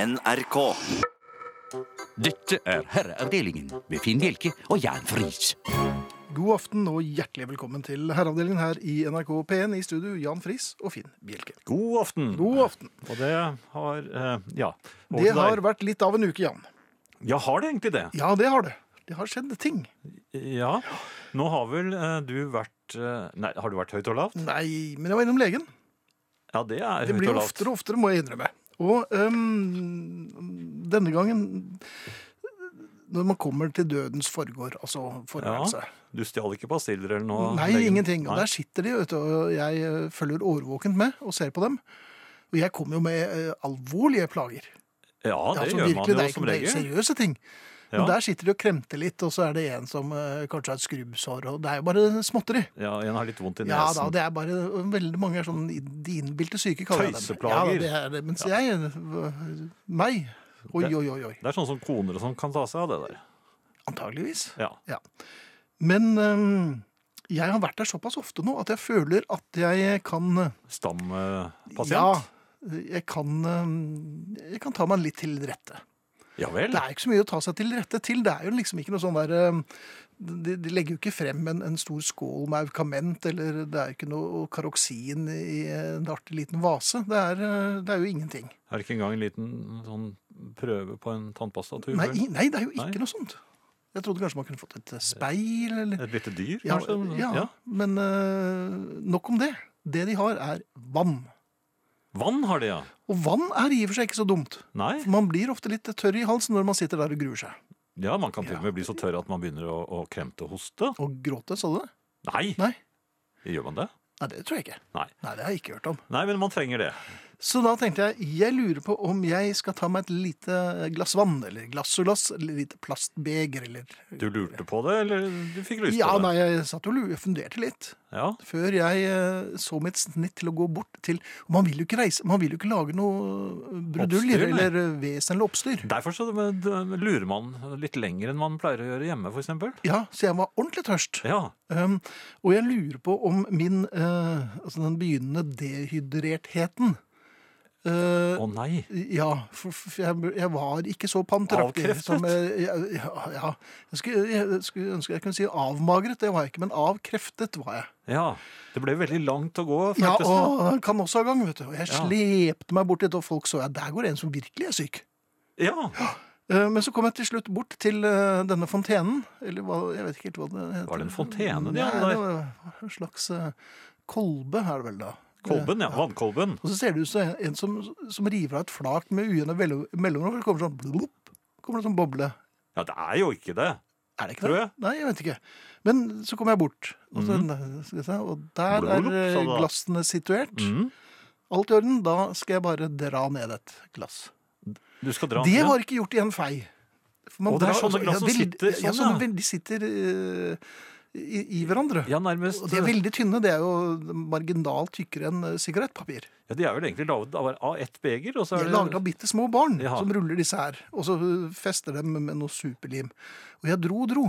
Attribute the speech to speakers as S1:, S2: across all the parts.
S1: NRK.
S2: Dette er Herreavdelingen med Finn Bjelke og Jan Friis.
S3: God aften og hjertelig velkommen til herreavdelingen her i NRK P1 i studio, Jan Friis og Finn Bjelke.
S4: God aften.
S3: God aften.
S4: Og det har eh, Ja. over
S3: Det
S4: til deg.
S3: har vært litt av en uke, Jan.
S4: Ja, har det egentlig det?
S3: Ja, det har det. Det har skjedd ting.
S4: Ja. Nå har vel eh, du vært eh, Nei, har du vært høyt og lavt?
S3: Nei, men jeg var innom legen.
S4: Ja, det er
S3: Det
S4: høyt
S3: blir
S4: og lavt.
S3: oftere og oftere, må jeg innrømme. Og øhm, denne gangen Når man kommer til dødens forgård, altså forberedelse.
S4: Du stjal ikke pastiller eller noe?
S3: Nei,
S4: Legen?
S3: ingenting. Og
S4: Nei.
S3: der sitter de, vet du, og jeg øh, følger årvåkent med og ser på dem. Og jeg kommer jo med øh, alvorlige plager.
S4: Ja, det
S3: altså,
S4: gjør man
S3: virkelig,
S4: jo
S3: det er
S4: som
S3: ikke- Det er
S4: regel.
S3: seriøse ting.
S4: Ja.
S3: Men der sitter de og kremter litt, og så er det en som eh, kanskje har et skrubbsår, og det er jo bare småtteri.
S4: Ja, en har litt vondt i
S3: Ja da,
S4: nesen.
S3: det er bare og Veldig mange er sånn i- de innbilte syke, kaller jeg dem.
S4: Tøyseplager.
S3: Ja, det er det. Mens jeg øh, Meg. Oi,
S4: Det-
S3: oi, oi, oi.
S4: Det er sånn som koner og sånn kan ta seg av det der.
S3: Antageligvis.
S4: Ja.
S3: Men øhm, jeg har vært der såpass ofte nå at jeg føler at jeg kan øh,
S4: eh, Stampasient?
S3: Ja, jeg kan, øhm, jeg kan ta meg litt til rette.
S4: Ja. vel.
S3: Det er jo ikke så mye å ta seg til rette til. Det er jo liksom ikke noe sånn der eh, De, de legger jo ikke frem en, en stor skål med aukament, eller det er jo ikke noe karoksin i en artig liten vase. Det er, eh, det er jo ingenting.
S4: Er det ikke engang en liten sånn prøve på en tannpastatur?
S3: Nei, i- nei, det er jo
S4: Nei.
S3: ikke noe sånt. Jeg trodde kanskje man kunne fått et eh, speil, eller
S4: Et lite dyr,
S3: Ja,
S4: kanskje?
S3: ja, men eh, nok om det. Det de har, er vann.
S4: Vann har det, ja.
S3: Og vann er i og for seg ikke så dumt.
S4: Nei.
S3: For man blir ofte litt tørr i halsen når man sitter der og gruer seg.
S4: Ja, man kan til og med bli så tørr at man begynner å, å kremte og hoste.
S3: Og gråte, sa du det?
S4: Nei,
S3: Nei.
S4: gjør man det?
S3: Nei, det tror jeg ikke.
S4: Nei.
S3: Nei, det har jeg ikke hørt om.
S4: Nei, men man trenger det.
S3: Så da tenkte jeg jeg lurer på om jeg skal ta meg et lite glass vann, eller glass og glass, eller lite plastbeger, eller
S4: Du lurte på det, eller du fikk lyst
S3: Ja,
S4: på det?
S3: nei, jeg satt og lu- jeg funderte litt
S4: Ja,
S3: før jeg eh, så mitt snitt til å gå bort til og Man vil jo ikke reise, man vil jo ikke lage noe bruduljer
S4: Oppstyr, nei.
S3: eller eh, vesen eller oppstyr.
S4: Derfor så eh, d- lurer man litt lenger enn man pleier å gjøre hjemme, for eksempel.
S3: Ja, så jeg var ordentlig tørst.
S4: Ja,
S3: Um, og jeg lurer på om min eh, altså den begynnende dehydrertheten eh,
S4: å nei.
S3: Ja, for, for jeg, jeg var ikke så panteraktig.
S4: Avkreftet?
S3: Som, jeg, jeg- ja, ja. Jeg, skulle, jeg skulle ønske jeg kunne si avmagret, det var jeg ikke, men avkreftet var jeg.
S4: Ja, det ble veldig langt å gå,
S3: Ja,
S4: føltes det.
S3: og kan også ha gang, vet du. Og jeg
S4: Ja.
S3: slepte meg bort dit, og folk så jeg, der går en som virkelig er syk.
S4: Ja,
S3: Eh, Men så kom jeg til slutt bort til eh, denne fontenen, eller hva, jeg vet ikke helt hva det heter.
S4: Var det en fontene de
S3: Nei,
S4: hadde
S3: det
S4: der?
S3: var en slags eh, kolbe er det vel da. Eh,
S4: kolben, ja, vannkolben.
S3: Og så ser det ut som en- en som, som river av et flak med ujevne vello- mellomrom, for det kommer sånn blup, kommer det sånn boble.
S4: Ja, det er jo ikke det.
S3: Er det ikke
S4: Tror
S3: det?
S4: jeg.
S3: Nei, jeg vet ikke. Men så kom jeg bort, og, så,
S4: Mhm.
S3: skal jeg se, og der
S4: Blop,
S3: er
S4: sa
S3: eh,
S4: du da.
S3: glassene situert.
S4: Mm.
S3: Alt i orden, da skal jeg bare dra ned et glass.
S4: Du skal dra
S3: Det
S4: ned.
S3: var ikke gjort i en fei. For man
S4: Å, det er
S3: drar-
S4: sånne glass som
S3: vel-
S4: sitter
S3: ja,
S4: sånn,
S3: sånne,
S4: ja.
S3: vel- De sitter eh, i, i hverandre.
S4: Ja, nærmest.
S3: Og de er veldig tynne. Det er jo marginalt tykkere enn eh, sigarettpapir.
S4: Ja, de er vel egentlig laget av av ett beger, og så
S3: De
S4: er
S3: er
S4: det...
S3: laget av bitte små barn
S4: Ja.
S3: som ruller disse her. Og så eh, fester dem med noe superlim. Og jeg dro og dro.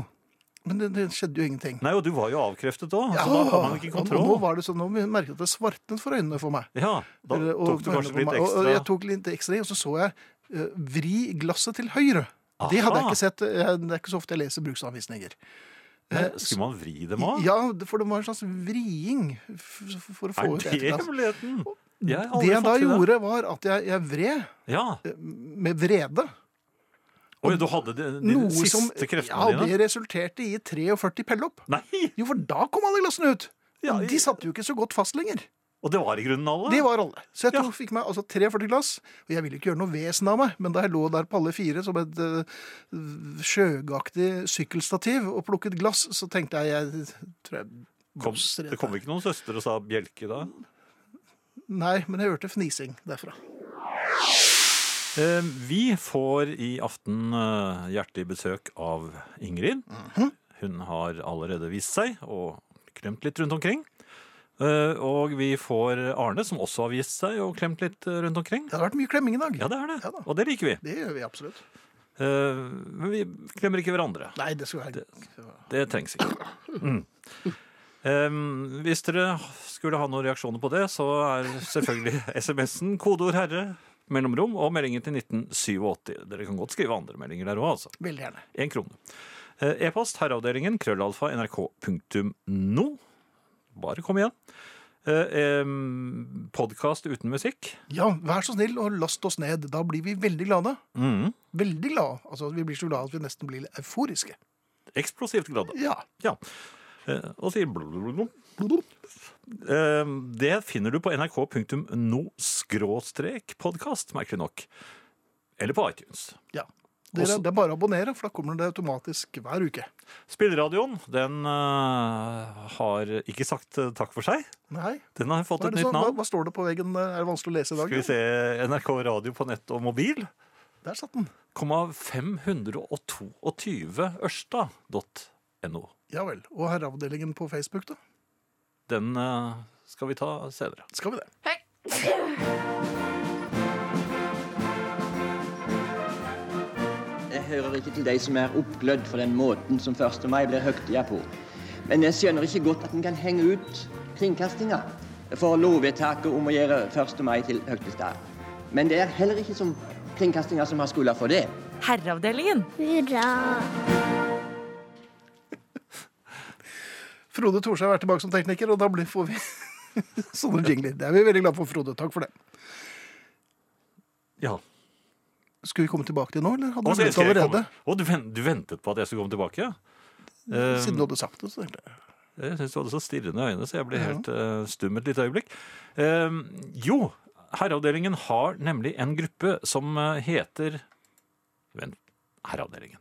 S3: Men det, det skjedde jo ingenting.
S4: Nei, og du var jo avkreftet også,
S3: Ja,
S4: så da har man ikke kontroll.
S3: Og nå var det sånn, nå merket jeg at det svartnet for øynene for meg.
S4: Ja, da
S3: Eller, og
S4: tok du
S3: for
S4: kanskje
S3: øynene
S4: litt
S3: på meg. Og- Og jeg
S4: ekstra
S3: tok litt ekstra i, og så så jeg eh, vri glasset til høyre. Det hadde jeg
S4: Aha.
S3: ikke sett. eh, Jeg, det er ikke så ofte jeg leser bruksanvisninger.
S4: Nei, Skulle man vri dem av?
S3: Ja, for det var en slags vriing f- f- for å få
S4: er
S3: ut
S4: det
S3: et glass.
S4: hemmeligheten? Jeg har
S3: Det
S4: aldri
S3: jeg da
S4: fått til det.
S3: gjorde, var at jeg, jeg vred eh,
S4: Ja.
S3: med vrede.
S4: Oi, du hadde de, de
S3: Noe
S4: siste
S3: som
S4: kreftene
S3: ja,
S4: dine?
S3: det resulterte i 43 pellopp.
S4: Nei!
S3: Jo, for da kom alle glassene ut.
S4: Ja,
S3: De satt jo ikke så godt fast lenger.
S4: Og det var i grunnen alle?
S3: Det var alle. Så jeg
S4: Ja.
S3: tok, fikk meg altså 43 glass. Og jeg ville ikke gjøre noe vesen av meg, men da jeg lå der på alle fire som et eh, sjøgaktig sykkelstativ og plukket glass, så tenkte jeg jeg tror jeg
S4: kom,
S3: blåser i
S4: det kom
S3: dette.
S4: ikke noen søster og sa bjelke da?
S3: Nei, men jeg hørte fnising derfra.
S4: Eh, vi får i aften eh, hjertelig besøk av Ingrid.
S3: Mhm.
S4: Hun har allerede vist seg og klemt litt rundt omkring. Eh, og vi får Arne, som også har vist seg og klemt litt eh, rundt omkring.
S3: Det har vært mye klemming i dag.
S4: Ja, det er det.
S3: Ja da.
S4: og det liker vi.
S3: Det gjør vi absolutt.
S4: Eh, men vi klemmer ikke hverandre.
S3: Nei, det skulle være
S4: Det trengs ikke. Mm. Ehm, Em, hvis dere skulle ha noen reaksjoner på det, så er selvfølgelig SMS-en kodeord 'herre' mellomrom og meldingen til 1987. Dere kan godt skrive andre meldinger der òg, altså.
S3: Veldig gjerne.
S4: Én krone. Eh, E-post herreavdelingen krøllalfa nrk.no. Bare kom igjen. Podkast uten musikk.
S3: Ja, vær så snill og last oss ned. Da blir vi veldig glade.
S4: Mhm.
S3: Veldig glade. Altså, vi blir så glade at vi nesten blir euforiske.
S4: Eksplosivt glade.
S3: Ja.
S4: Ja. Eh, Og sier blablabla. Eh, Det finner du på nrk.no-podkast, merkelig nok. Eller på iTunes.
S3: ja. Dere,
S4: Også-
S3: det er bare å abonnere, for da kommer det automatisk hver uke.
S4: Spilleradioen den eh, har ikke sagt eh, takk for seg.
S3: Nei,
S4: Den har fått
S3: hva, er
S4: et
S3: det
S4: nytt
S3: som, hva,
S4: navn.
S3: hva står det på veggen? Eh, Er det vanskelig å lese i dag?
S4: Skal vi se NRK Radio på nett og mobil.
S3: Der satt den.
S4: komma 522 ørsta.no.
S3: Ja vel. Og herreavdelingen på Facebook, da?
S4: Den eh, skal vi ta senere.
S3: Skal vi det?
S1: Jeg hører ikke til de som er oppglødd for den måten som 1. mai blir høgtida på. Men jeg skjønner ikke godt at en kan henge ut kringkastinga for lovvedtaket om å gjøre 1. mai til høgtidsdag. Men det er heller ikke som kringkastinga som har skylda for det.
S5: Herreavdelingen.
S6: Hurra!
S3: Frode Thorshaug er tilbake som tekniker, og da blir, får vi sånne jingler. Det er vi veldig glad for, Frode. Takk for det.
S4: Ja.
S3: Skulle vi komme tilbake til nå, eller hadde
S4: Og
S3: du
S4: så
S3: begynt
S4: skal jeg
S3: allerede?
S4: komme- Å, du, ven- du ventet på at jeg skulle komme tilbake? Eh,
S3: Siden du hadde sagt det. så tenkte jeg.
S4: Jeg syns du hadde så stirrende øyne, så jeg ble helt eh, stum et lite øyeblikk. Eh, jo, Herreavdelingen har nemlig en gruppe som eh, heter Vent. Herreavdelingen.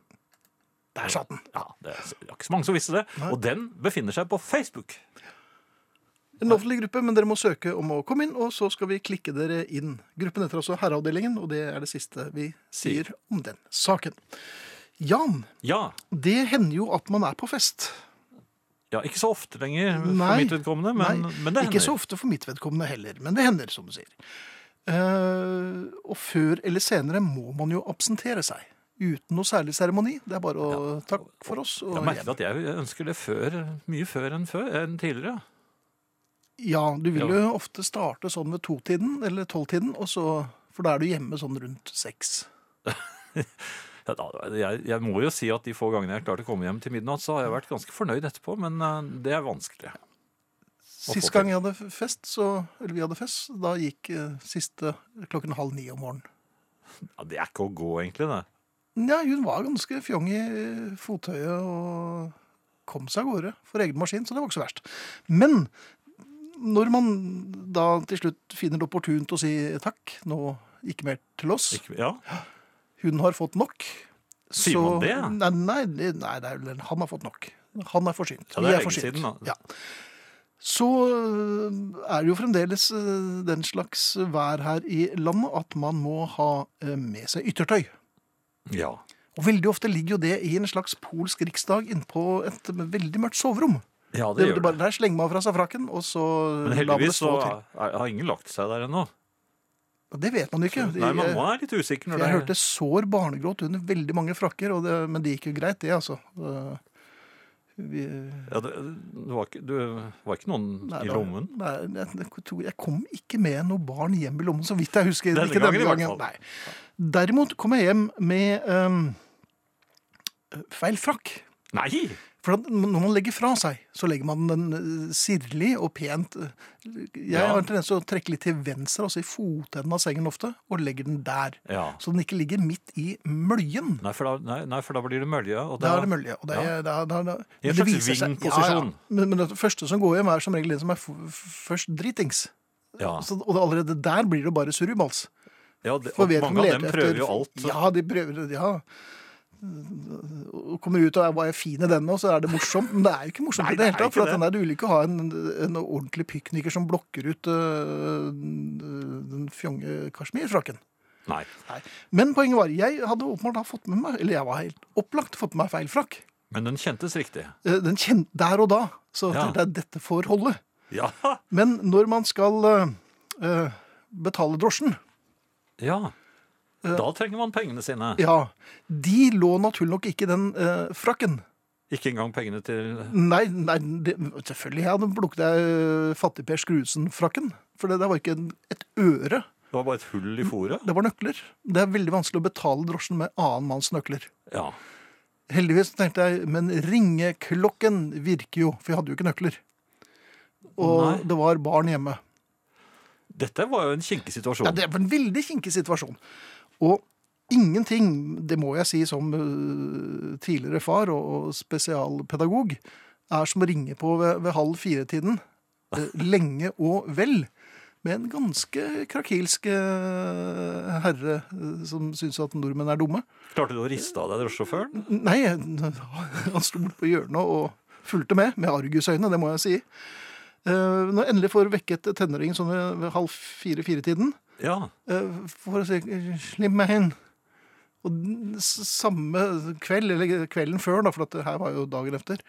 S3: Der satt den!
S4: Ja, det er det er ikke så mange som visste det. Og den befinner seg på Facebook.
S3: En lovlig gruppe, men dere må søke om å komme inn, og så skal vi klikke dere inn. Gruppen heter altså Herreavdelingen, og det er det siste vi sier om den saken. Jan,
S4: Ja,
S3: det hender jo at man er på fest.
S4: Ja, ikke så ofte lenger for
S3: Nei.
S4: mitt vedkommende, men,
S3: Nei,
S4: men det hender.
S3: Ikke så ofte for mitt vedkommende heller, men det hender, som du sier. Eh, og før eller senere må man jo absentere seg. Uten noe særlig seremoni. Det er bare å takk for oss. Og
S4: Jeg merket
S3: hjem.
S4: at jeg ønsker det før, mye før enn, før, enn tidligere.
S3: ja, du vil
S4: Ja.
S3: jo ofte starte sånn ved totiden eller tolvtiden, og så, for da er du hjemme sånn rundt seks.
S4: Ja, da- Jeg, jeg må jo si at de få gangene jeg har klart å komme hjem til midnatt, så har jeg vært ganske fornøyd etterpå, men eh, det er vanskelig.
S3: Sist gang jeg hadde fest, så, eller vi hadde fest, da gikk eh, siste klokken halv ni om morgenen.
S4: Ja, det er ikke å gå, egentlig, det.
S3: Ja, hun var ganske fjong i eh, fothøyet og kom seg av gårde for egen maskin, så det var ikke så verst. Men når man da til slutt finner det opportunt å si takk, nå ikke mer til oss,
S4: Ikke, ja.
S3: hun har fått nok.
S4: Sier
S3: så-
S4: man det?
S3: Nei, nei, nei, nei, det er vel- han har fått nok. Han er forsynt.
S4: Ja, det er
S3: Vi
S4: lenge
S3: forsynt.
S4: siden, da.
S3: Ja. Så øh, er det jo fremdeles øh, den slags vær her i landet at man må ha øh, med seg yttertøy.
S4: ja.
S3: Og veldig ofte ligger jo det i en slags polsk riksdag innpå et veldig mørkt soverom.
S4: Ja,
S3: Det,
S4: det,
S3: det,
S4: gjør
S3: bare,
S4: det.
S3: der slenger man fra seg frakken, og så lar
S4: Men
S3: man det
S4: heldigvis så
S3: stå til.
S4: er, har ingen lagt seg der ennå.
S3: Og Det vet man jo ikke.
S4: Nei,
S3: Jeg-
S4: mamma er litt usikker
S3: Jeg
S4: når det
S3: hørte sår barnegråt under veldig mange frakker, og det, men det gikk jo greit, det, altså. Eh, Vi,
S4: ja, det, det, var ikke, det var ikke noen
S3: nei,
S4: i
S3: da-
S4: lommen.
S3: Nei, jeg, jeg tror- jeg kom ikke med noe barn hjem i lommen, så vidt jeg husker.
S4: Denne
S3: ikke
S4: gangen i hvert fall.
S3: Nei. Derimot kom jeg hjem med eh, feil frakk.
S4: Nei!
S3: For at når man legger fra seg, så legger man den eh, sirlig og pent eh, Jeg
S4: Ja.
S3: har en tendens til å trekke litt til venstre, altså i fotenden av sengen ofte, og legger den der.
S4: Ja.
S3: Så den ikke ligger midt i møljen.
S4: Nei, for da, nei, nei, for da blir det mølje. Og
S3: Da er det mølje. Og det,
S4: Ja.
S3: er- da, da, da,
S4: I en
S3: men det
S4: slags
S3: viser seg-
S4: vingposisjon.
S3: Ja, ja. Men, men det første som går hjem, er som regel den som er f f først dritings.
S4: Ja.
S3: Så, og allerede der blir det bare surrumals.
S4: Ja, det,
S3: For
S4: og mange av
S3: vedkommende
S4: dem
S3: leter
S4: prøver
S3: etter-
S4: jo alt. så-
S3: Ja, de prøver ja. Og kommer ut og er, var jeg fin i denne, og så er det morsomt. Men det er jo ikke morsomt i
S4: Nei,
S3: det
S4: det
S3: hele
S4: er
S3: tatt. For
S4: ikke
S3: at den er det ulykke å ha en, en ordentlig pikniker som blokker ut øh, den fjonge kasjmirfrakken.
S4: Nei.
S3: Nei. Men poenget var, jeg hadde åpenbart da fått med meg, eller jeg var helt opplagt fått med meg feil frakk.
S4: Men den kjentes riktig.
S3: Eh, Den kjente der og da, så
S4: Ja.
S3: tenkte jeg dette får holde.
S4: Ja.
S3: Men når man skal øh, øh, betale drosjen,
S4: ja. Da trenger man pengene sine.
S3: ja, de lå naturlig nok ikke i den øh, frakken.
S4: Ikke engang pengene til
S3: Nei, nei det, eh, selvfølgelig. Jeg hadde plukket jeg fattigper Skruesen-frakken. For det der var ikke en, et øre
S4: Det var bare et hull i fòret?
S3: Det var nøkler. Det er veldig vanskelig å betale drosjen med annen manns nøkler.
S4: Ja.
S3: Heldigvis tenkte jeg, men ringeklokken virker jo, for jeg hadde jo ikke nøkler. Og
S4: Nei.
S3: det var barn hjemme.
S4: Dette var jo en kinkig situasjon.
S3: Ja, det var en veldig kinkig situasjon. Og ingenting, det må jeg si som øh, tidligere far og, og spesialpedagog, er som å ringe på ved, ved halv fire-tiden øh, lenge og vel. Med en ganske krakilsk øh, herre øh, som syns at nordmenn er dumme.
S4: Klarte du å riste av deg drosjesjåføren?
S3: Nei, han sto bort på hjørnet og fulgte med, med argusøyne, det må jeg si. Eh, Når jeg endelig får vekket tenåringen sånn ved ved halv fire-fire-tiden,
S4: Ja.
S3: Eh, for å si 'slipp meg inn'. Og den s- samme kveld, eller kvelden før, da, for at det her var jo dagen etter,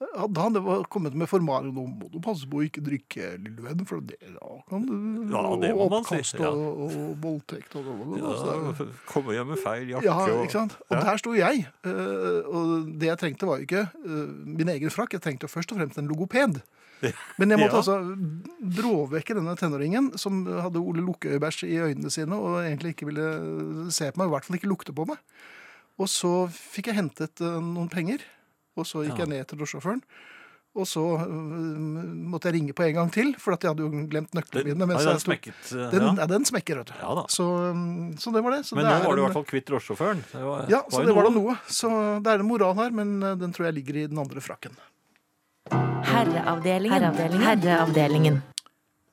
S3: eh, hadde han det var kommet med formaler. 'Nå må du passe på å ikke drikke, lille venn', for det da kan du
S4: Ja, det må
S3: og
S4: man si,
S3: oppkast
S4: ja.
S3: og, og voldtekt og, og, og, så det er jo-
S4: ja Komme hjem med feil jakke
S3: ja,
S4: og-
S3: ikke sant? Og
S4: Ja.
S3: der sto jeg. eh, Og det jeg trengte, var jo ikke eh, min egen frakk. Jeg trengte jo først og fremst en logoped. Men jeg måtte
S4: Ja.
S3: altså bråvekke denne tenåringen som hadde Ole Lukkøy-bæsj i øynene sine og egentlig ikke ville se på meg, i hvert fall ikke lukte på meg. Og så fikk jeg hentet eh, noen penger, og så gikk
S4: Ja.
S3: jeg ned til drosjesjåføren. Og så eh, måtte jeg ringe på en gang til, for at jeg hadde jo glemt nøklene mine. mens
S4: Nei, den
S3: jeg sto-
S4: smekket. eh,
S3: den,
S4: ja.
S3: ja, den smekker, vet du.
S4: Ja da.
S3: Så, eh, så det var det. Så
S4: Men
S3: det
S4: nå
S3: er
S4: var du i
S3: en-
S4: hvert fall kvitt drosjesjåføren. Det var-
S3: ja, så
S4: jo
S3: det var da noe. Så det er en moral her, men eh, den tror jeg ligger i den andre frakken.
S5: Herreavdelingen. Herreavdelingen.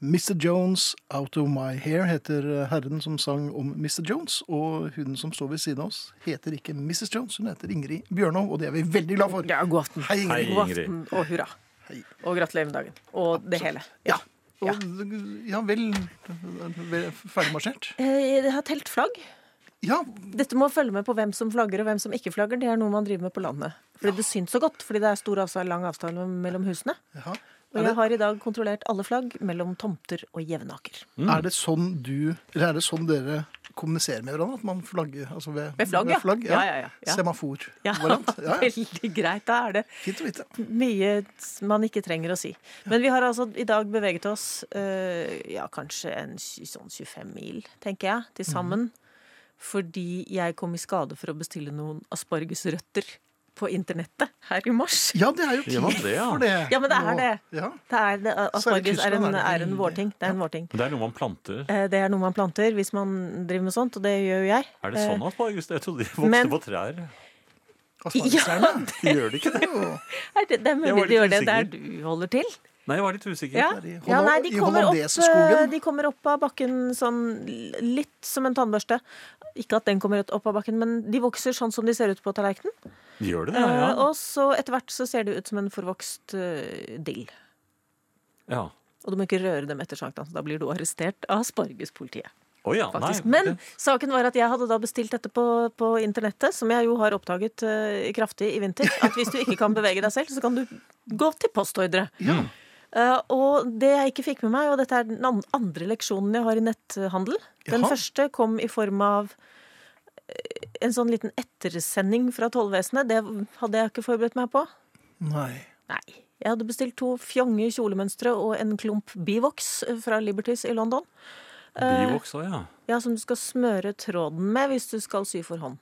S3: Mr. Jones Out of My Hair heter eh, herren som sang om Mr. Jones. Og hun som står ved siden av oss, heter ikke Mrs. Jones, hun heter Ingrid Bjørnov. Og det er vi veldig glad for.
S6: Ja, god aften.
S3: Hei, Ingrid.
S4: Hei,
S6: God
S4: Ingrid.
S6: aften og hurra. Og gratulerer med dagen. Og det hele.
S3: Ja.
S6: Ja.
S3: Og, ja vel, vel Ferdigmarsjert?
S6: Eh, Jeg har telt flagg.
S3: Ja.
S6: Dette med å følge med på hvem som flagger og hvem som ikke flagger, det er noe man driver med på landet. Fordi det syns så godt, fordi det er stor avstand, lang avstand mellom husene.
S3: Jaha.
S6: Og jeg har i dag kontrollert alle flagg mellom tomter og Jevnaker.
S3: Er det sånn du Eller er det sånn dere kommuniserer med hverandre? At man flagger altså ved,
S6: Ved flagg,
S3: ja.
S6: ja. Ja, ja, ja, ja.
S3: Semafor.
S6: Ja,
S3: Variant. Ja, ja.
S6: veldig greit. Da er det
S3: Fint å vite.
S6: mye man ikke trenger å si. Men vi har altså i dag beveget oss eh, ja, kanskje en tj- sånn 25 mil, tenker jeg, til sammen. Fordi jeg kom i skade for å bestille noen aspargesrøtter på internettet her i mars.
S3: Ja, det er jo tid
S4: Gjør man det, ja?
S3: for det.
S6: Ja, men det er det.
S3: Ja.
S6: Det er, det, asparges er en,
S3: Tyskland, er det
S6: er en
S3: veldig-
S6: vårting. Det er en vårting.
S4: Det er noe man planter.
S6: Eh, Det er noe man planter hvis man driver med sånt, og det gjør jo jeg.
S4: Er det sånn asparges? Jeg trodde de vokste
S6: Eh, men-
S4: på trær.
S3: Aspargeserne.
S4: Gjør de ikke det?
S3: Jo.
S6: Er Eh, det, det er
S4: Jeg var
S6: mulig
S4: litt
S6: de gjør det
S4: usikker.
S6: der du holder til.
S4: Nei, jeg var litt usikker.
S6: Ja.
S3: der i
S6: ja,
S3: Hollande-
S6: nei, de
S3: i
S6: kommer, opp,
S3: Hollandeseskogen.
S6: eh, de kommer opp av bakken sånn l- litt som en tannbørste. Ikke at den kommer ut- opp av bakken, men de vokser sånn som de ser ut på tallerkenen.
S4: Gjør de det? Ja.
S6: Eh, og så etter hvert så ser de ut som en forvokst eh, dill.
S4: ja.
S6: Og du må ikke røre dem etter sankthans, da blir du arrestert av Aspargespolitiet.
S4: Å ja, nei.
S6: faktisk. Men saken var at jeg hadde da bestilt dette på, på internettet, som jeg jo har oppdaget eh, kraftig i vinter, at hvis du ikke kan bevege deg selv, så kan du gå til postordre. Eh, og det jeg ikke fikk med meg, og dette er den an- andre leksjonen jeg har i netthandel Den
S3: Jaha.
S6: første kom i form av eh, en sånn liten ettersending fra tollvesenet. Det hadde jeg ikke forberedt meg på.
S3: Nei.
S6: Nei. Jeg hadde bestilt to fjonge kjolemønstre og en klump bivoks eh, fra Liberties i London. Eh,
S4: Bivoks òg, ja.
S6: Ja, som du skal smøre tråden med hvis du skal sy for hånd.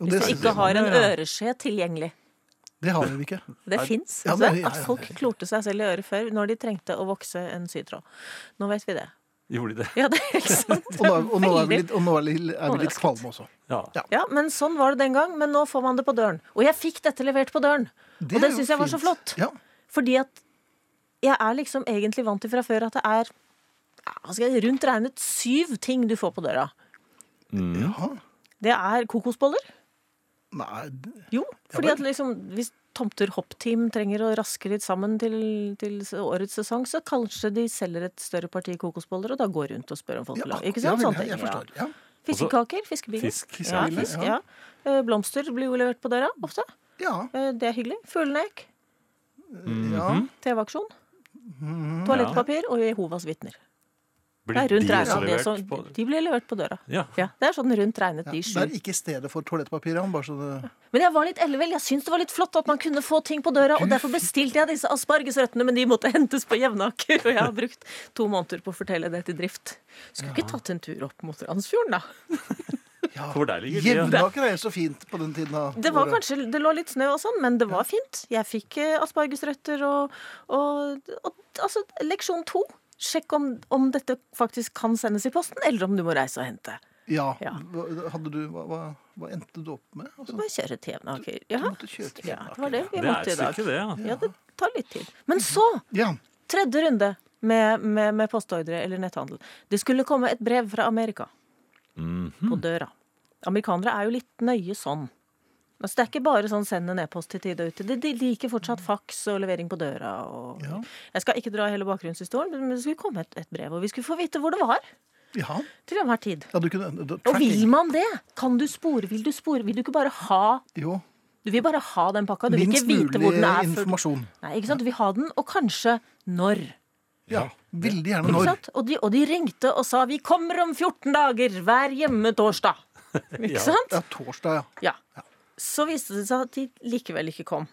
S3: Og
S6: Hvis
S3: det,
S6: du
S3: det,
S6: ikke har en øreskje tilgjengelig.
S3: har vi ikke.
S6: Det fins.
S3: ja,
S6: Altså,
S3: men- ja,
S6: at
S3: ja,
S6: folk
S3: ja.
S6: klorte seg selv i øret før når de trengte å vokse en sytråd. Nå vet vi det.
S4: Gjorde de det?
S6: Ja, det er ikke sant.
S3: Og, da, og nå er vi
S6: Veldig.
S3: litt, og nå er vi, litt- er vi litt
S6: Overrasket.
S3: kvalme også.
S4: Ja.
S3: Ja.
S6: Ja, men sånn var det den gang. Men nå får man det på døren. Og jeg fikk dette levert på døren! og
S3: er
S6: det
S3: jo
S6: syns jeg var så
S3: fint.
S6: flott.
S3: Ja.
S6: Fordi at jeg er liksom egentlig vant til fra før at det er ja, hva skal jeg, rundt regnet syv ting du får på døra.
S3: Jaha.
S6: Det er kokosboller.
S3: Nei, det-
S6: Jo, fordi at liksom, hvis tomter hoppteam trenger å raske litt sammen til, til årets sesong, så kanskje de selger et større parti kokosboller og da går rundt og spør om folk
S3: ja,
S6: vil ha. Ikke sant?
S3: ja, vel,
S6: Sånne
S3: jeg
S6: ting, ja.
S3: forstår. Ja.
S6: Fiskekaker, fiskebiler.
S4: Fisk,
S6: ja,
S4: fiskebiler,
S6: fisk,
S3: ja.
S6: ja. Eh, Blomster blir jo levert på døra ofte.
S3: Ja.
S6: Eh, Det er hyggelig. Fuglenek,
S3: ja.
S4: Mhm.
S3: Mm.
S6: TV-aksjon, toalettpapir og Jehovas vitner.
S4: Blir
S6: Det er rundt
S4: de også
S6: regnet. Det
S4: levert
S6: som,
S4: på-
S6: de blir levert på døra.
S4: Ja.
S6: Ja, det er sånn rundt regnet
S3: Ja,
S6: de
S3: det er
S6: sju.
S3: ikke stedet for toalettpapir, han, bare så det
S6: Men jeg var litt ellevill. Jeg syntes det var litt flott at man kunne få ting på døra, og derfor bestilte jeg disse aspargesrøttene, men de måtte hentes på Jevnaker, og jeg har brukt to måneder på å fortelle det til drift. Skulle ikke tatt en tur opp mot Randsfjorden, da?
S3: ja.
S4: For der ligger de, ja.
S3: Jevnaker er jo så fint på den tiden av
S6: Det var
S3: året.
S6: kanskje, det lå litt snø og sånn, men det var fint. Jeg fikk eh, aspargesrøtter og, og, og altså, leksjon to. Sjekk om, om dette faktisk kan sendes i posten, eller om du må reise og hente.
S3: Ja.
S6: Ja.
S3: Hva- Hadde du, hva, hva, hva endte du opp med? Altså,
S6: Bare kjøre til Jevnaker. Ja.
S3: du måtte kjøre til
S6: ja,
S3: Jevnaker. Mhm.
S6: det var det vi
S4: Det er et
S6: måtte i dag.
S4: stykke, det. Ja.
S6: Ja, det tar litt tid. Men så,
S3: Ja.
S6: tredje runde med, med, med postordre eller netthandel. Det skulle komme et brev fra Amerika
S3: Mhm.
S6: på døra. Amerikanere er jo litt nøye sånn. Altså, det er ikke bare sånn send en e-post til tide og ute. De, de liker fortsatt faks og levering på døra. Og...
S3: Ja.
S6: Jeg skal ikke dra hele bakgrunnshistorien, men det skulle komme et, et brev, og vi skulle få vite hvor det var
S3: ja.
S6: til enhver tid.
S3: ja du kunne, da-
S6: Og vil
S3: tracking.
S6: man det? Kan du spore? Vil du spore? Vil du ikke bare ha
S3: Jo.
S6: Du vil bare ha den pakka? Du vil
S3: Minst
S6: ikke vite hvor
S3: mulig
S6: den er før du
S3: informasjon.
S6: Nei, ikke sant? Du vil ha den, og kanskje når.
S3: Ja. Veldig gjerne
S6: Ikke
S3: når.
S6: sant? Og, de, og de ringte og sa 'vi kommer om 14 dager, vær hjemme torsdag'. Ikke sant?
S3: Ja, torsdag, ja.
S6: Ja. Så viste det seg at de likevel ikke kom.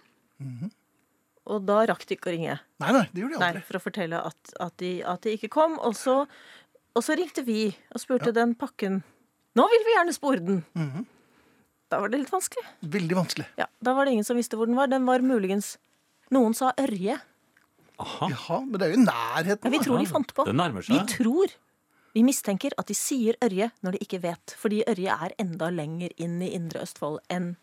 S6: Og da rakk de ikke å ringe
S3: Nei, nei, det gjør de
S6: Nei,
S3: aldri.
S6: for å fortelle at, at, de, at de ikke kom. Og så, og så ringte vi og spurte den pakken 'Nå vil vi gjerne spore den'. Da var det litt vanskelig.
S3: Veldig vanskelig.
S6: Ja, Da var det ingen som visste hvor den var. Den var muligens Noen sa Ørje.
S4: Aha.
S3: Jaha, men det er jo i
S6: Ja,
S3: nærheten.
S6: vi
S3: da.
S6: tror de fant på.
S4: Det nærmer
S6: Vi
S4: seg.
S6: tror, vi mistenker at de sier Ørje når de ikke vet, fordi Ørje er enda lenger inn i Indre Østfold enn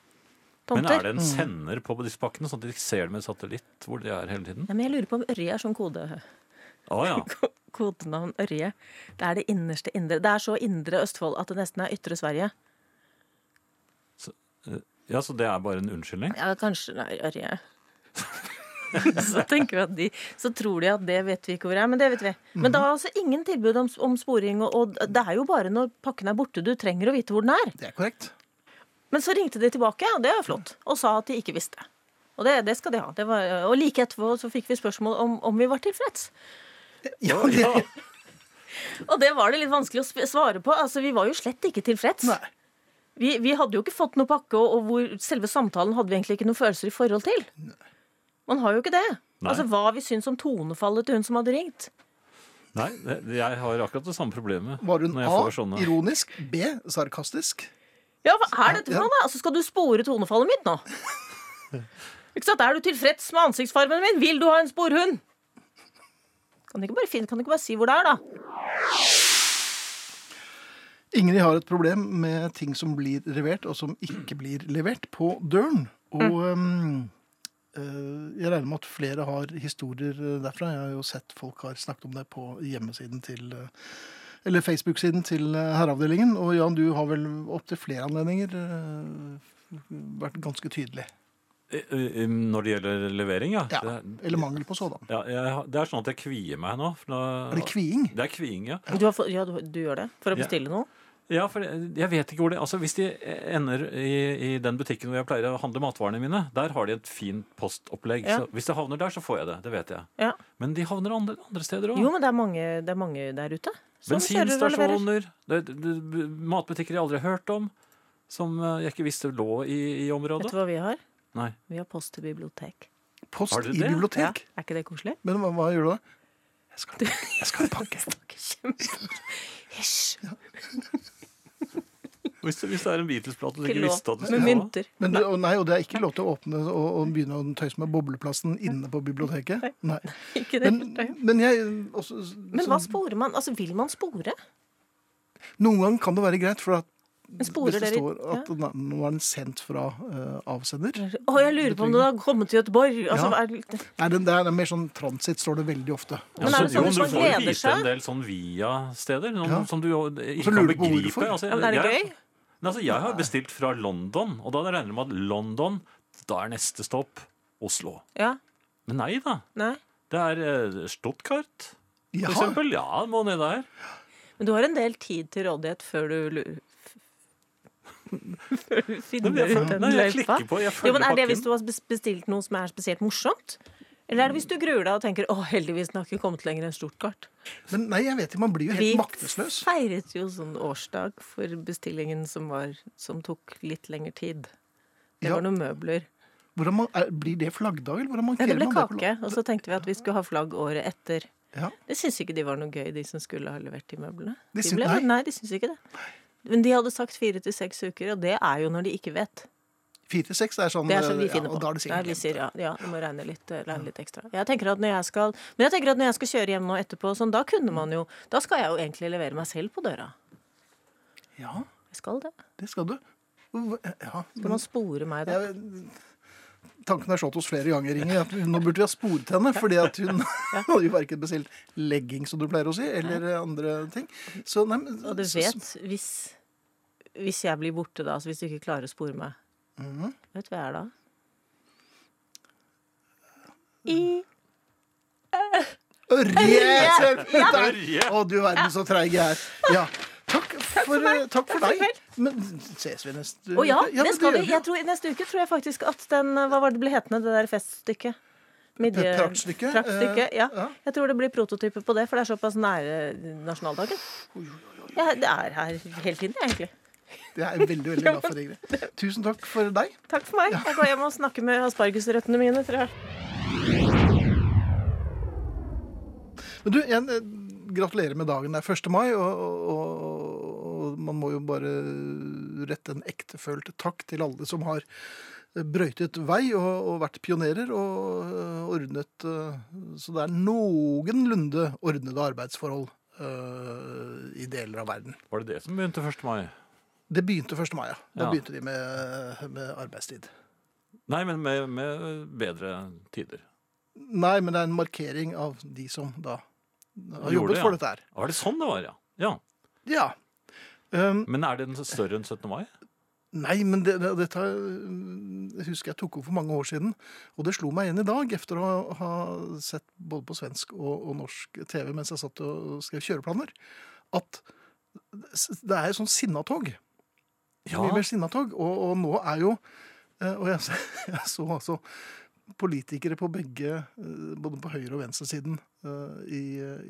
S4: Men
S6: tomter.
S4: er det en sender på disse pakkene, sånn at de ser det med satellitt hvor de er hele tiden?
S6: Nei, men jeg lurer på om Ørje er sånn kode,
S4: Å ja.
S6: kodenavn Ørje. Det er det innerste indre. Det er så indre Østfold at det nesten er ytre Sverige.
S4: ja. Så det er bare en unnskyldning?
S6: Ja, kanskje det er Ørje. så tenker vi at de, så tror de at det vet vi ikke hvor det er, men det vet vi. Men
S4: Mhm.
S6: da er altså ingen tilbud om, om sporing, og, og det er jo bare når pakken er borte du trenger å vite hvor den er.
S3: Det er korrekt.
S6: Men så ringte de tilbake, og det er flott, og sa at de ikke visste. Og det, det skal de ha. Det var, og like etterpå så fikk vi spørsmål om, om vi var tilfreds.
S3: Ja, det,
S6: Og det var det litt vanskelig å sp- svare på. Altså, Vi var jo slett ikke tilfreds.
S3: nei.
S6: Vi, vi hadde jo ikke fått noe pakke, og, og hvor selve samtalen hadde vi egentlig ikke noen følelser i forhold til. Man har jo ikke det.
S4: Nei.
S6: Altså Hva vi syns om tonefallet til hun som hadde ringt.
S4: Nei, det- jeg har akkurat det samme problemet.
S3: Var hun
S4: når jeg
S3: A
S4: får sånne-
S3: ironisk, B sarkastisk?
S6: Ja, hva er dette
S3: Ja.
S6: for noe? da? Altså, Skal du spore tonefallet mitt nå? ikke sant? Er du tilfreds med ansiktsfargen min? Vil du ha en sporhund? Kan du ikke bare, finne, kan du ikke bare si hvor det er, da?
S3: Ingrid har et problem med ting som blir levert, og som ikke blir levert, på døren. Og øhm, øh, jeg regner med at flere har historier øh, derfra. Jeg har jo sett folk har snakket om det på hjemmesiden til øh, Eller Facebook-siden til øh, Herreavdelingen. Og Jan, du har vel opptil flere anledninger øh, vært ganske tydelig.
S4: Eh, eh, Når det gjelder levering, ja.
S3: Ja.
S4: Det,
S3: Eller mangel på sådan.
S4: ja jeg, har- det er sånn at jeg kvier meg nå. For da,
S3: Er det kviing?
S4: Det er kviing, ja.
S6: Du, har fått, ja, du, du gjør det for å
S4: Ja.
S6: bestille noe?
S4: Ja, for jeg jeg vet ikke hvor det Altså, Hvis de ender i, i den butikken hvor jeg pleier å handle matvarene mine, der har de et fint postopplegg.
S6: Ja.
S4: Så hvis det havner der, så får jeg det. Det vet jeg.
S6: Ja.
S4: Men de havner andre, andre steder òg.
S6: Jo, men det er mange, det er mange der ute. som kjører og leverer.
S4: Bensinstasjoner, det, det, det, matbutikker jeg aldri har hørt om, som eh, jeg ikke visste lå i, i
S6: Vet
S4: området.
S6: du hva vi har?
S4: Nei.
S6: Vi har post til bibliotek.
S3: Post
S4: Har dere
S3: i
S4: det?
S6: Ja,
S3: bibliotek?
S6: er ikke det koselig?
S3: Men hva, hva gjør du da? Jeg skal, jeg skal ha en pakke.
S6: Hysj!
S4: Hvis, det- hvis det er en Beatles-plate du
S6: Ikke
S4: ikke
S6: lov.
S4: visste at du
S6: Med
S4: skulle ha.
S6: mynter.
S3: Men du, og nei, og det er ikke lov til å åpne og, og begynne å tøyse med bobleplasten inne på biblioteket. Nei.
S6: Ikke det.
S3: Men, men jeg også,
S6: Men hva
S3: så,
S6: sporer man? Altså, vil man spore?
S3: Noen ganger kan det være greit, for at,
S6: Men
S3: hvis
S6: sporer
S3: det
S6: dere
S3: står at den er- nå er den sendt fra eh, avsender
S6: ja. Å, jeg lurer på om den har kommet til Gøteborg. Altså,
S3: Ja.
S6: er det...
S3: Nei, den der, det er mer sånn transit, står det veldig ofte.
S6: Men er det
S4: jo,
S6: sånn hvis
S4: du
S6: man
S4: får jo
S6: gleder
S4: vite
S6: seg?
S4: en del sånn via-steder noen
S3: Ja.
S4: som du jo ikke
S3: så
S4: kan
S3: lurer du på
S4: begripe.
S3: hvorfor.
S4: Altså,
S6: Men er det
S4: jeg-
S6: gøy?
S4: Nei, altså, jeg har bestilt fra London, og da regner jeg med at London, da er neste stopp Oslo.
S6: Ja.
S4: Men nei da.
S6: Nei.
S4: Det er eh, Stuttgart, for
S3: Jaha,
S4: eksempel. Ja, må ned der.
S6: Men du har en del tid til rådighet før du lurer Før du
S4: Nei,
S6: finner
S4: men jeg,
S6: ut den
S4: nei, jeg
S6: løypa.
S4: klikker på, jeg
S6: Jo,
S4: følger
S6: men Er det
S4: pakken.
S6: hvis du har bes- bestilt noe som er spesielt morsomt? Eller er det hvis du gruer deg og tenker å, heldigvis den har ikke kommet lenger enn stort kart?
S3: Men nei, jeg vet ikke, man blir jo helt maktesløs.
S6: feiret jo sånn årsdag for bestillingen som, var, som tok litt lengre tid. Det
S3: Ja.
S6: var noen møbler.
S3: Hvordan man, er, blir det flaggdag, eller hvordan
S6: Nei,
S3: markerer
S6: det ble
S3: man på
S6: kake,
S3: lag-
S6: og så tenkte vi at vi skulle ha flagg året etter.
S3: Ja.
S6: Det syns ikke de var noe gøy, de som skulle ha levert de møblene.
S3: De
S6: De
S3: syn-
S6: ble,
S3: nei.
S6: nei, de syns ikke det. Men de hadde sagt fire til seks uker, og det er jo når de ikke vet.
S3: Fire til seks er sånn,
S6: Det er sånn vi
S3: ja,
S6: finner på.
S3: og da er det
S6: Der
S3: sikkert
S6: vi
S3: glemt.
S6: sier ja, ja, du må regne litt, eh, regne litt ekstra. Jeg tenker at når jeg skal, men jeg tenker at når jeg skal kjøre hjem nå etterpå, sånn, da kunne man jo Da skal jeg jo egentlig levere meg selv på døra.
S3: Ja,
S6: Jeg skal det.
S3: det skal du. Hva- Ja,
S6: Skal man spore meg da?
S3: jeg, tanken har slått oss flere ganger, Inge. At nå burde vi ha sporet henne, fordi at hun hadde jo verken bestilt legging, som du pleier å si, eller andre ting. Så, nei, men,
S6: Og du vet, hvis, hvis jeg blir borte da, altså hvis du ikke klarer å spore meg
S3: Mhm.
S6: Vet du hva jeg er da?
S3: Mm.
S6: I
S3: Ørje!
S4: Ørje!
S3: Å, du verden så treig jeg er. Ja. Takk for, takk for deg. Men ses vi neste
S6: Å ja,
S3: men
S6: det skal
S3: gjør
S6: vi. Jeg tror, neste uke tror jeg faktisk at den eh, Hva var det det ble hetende, det der feststykket? Midje-
S3: Praktstykket?
S6: praktstykket,
S3: Eh,
S6: ja.
S3: ja.
S6: Jeg tror det blir prototyper på det, for det er såpass nære nasjonaldagen. Ja, det er her hele tiden, egentlig.
S3: Jeg er veldig, veldig glad for Ingrid. Tusen takk for deg.
S6: Takk for meg. Jeg går hjem og snakker med aspargesrøttene mine. Tror jeg.
S3: Men du, igjen, eh, gratulerer med dagen. Det er 1. mai, og, og, og- og man må jo bare rette en ektefølt takk til alle som har brøytet vei og, og vært pionerer og eh, ordnet eh, Så det er noenlunde ordnede arbeidsforhold eh, i deler av verden.
S4: Var det det som begynte 1. mai?
S3: Det begynte 1. mai, ja. Da
S4: Ja.
S3: begynte de med, eh, med arbeidstid.
S4: Nei, men med, med bedre tider.
S3: Nei, men det er en markering av de som da har
S4: Gjorde
S3: jobbet
S4: det,
S3: for
S4: ja.
S3: dette her.
S4: Var det sånn det var, ja? ja.
S3: Ja. Um,
S4: Men er den større enn 17. mai?
S3: nei, men det, det, dette um, husker jeg tok opp for mange år siden. Og det slo meg igjen i dag, etter å ha, ha sett både på svensk og, og norsk TV mens jeg satt og skrev kjøreplaner, at s- det er jo sånn sinnatog.
S4: Ja.
S3: mye mer sinnatog. Og, og nå er jo eh, Og jeg, s- jeg så altså politikere på begge, eh, både på høyre- og venstresiden eh, i,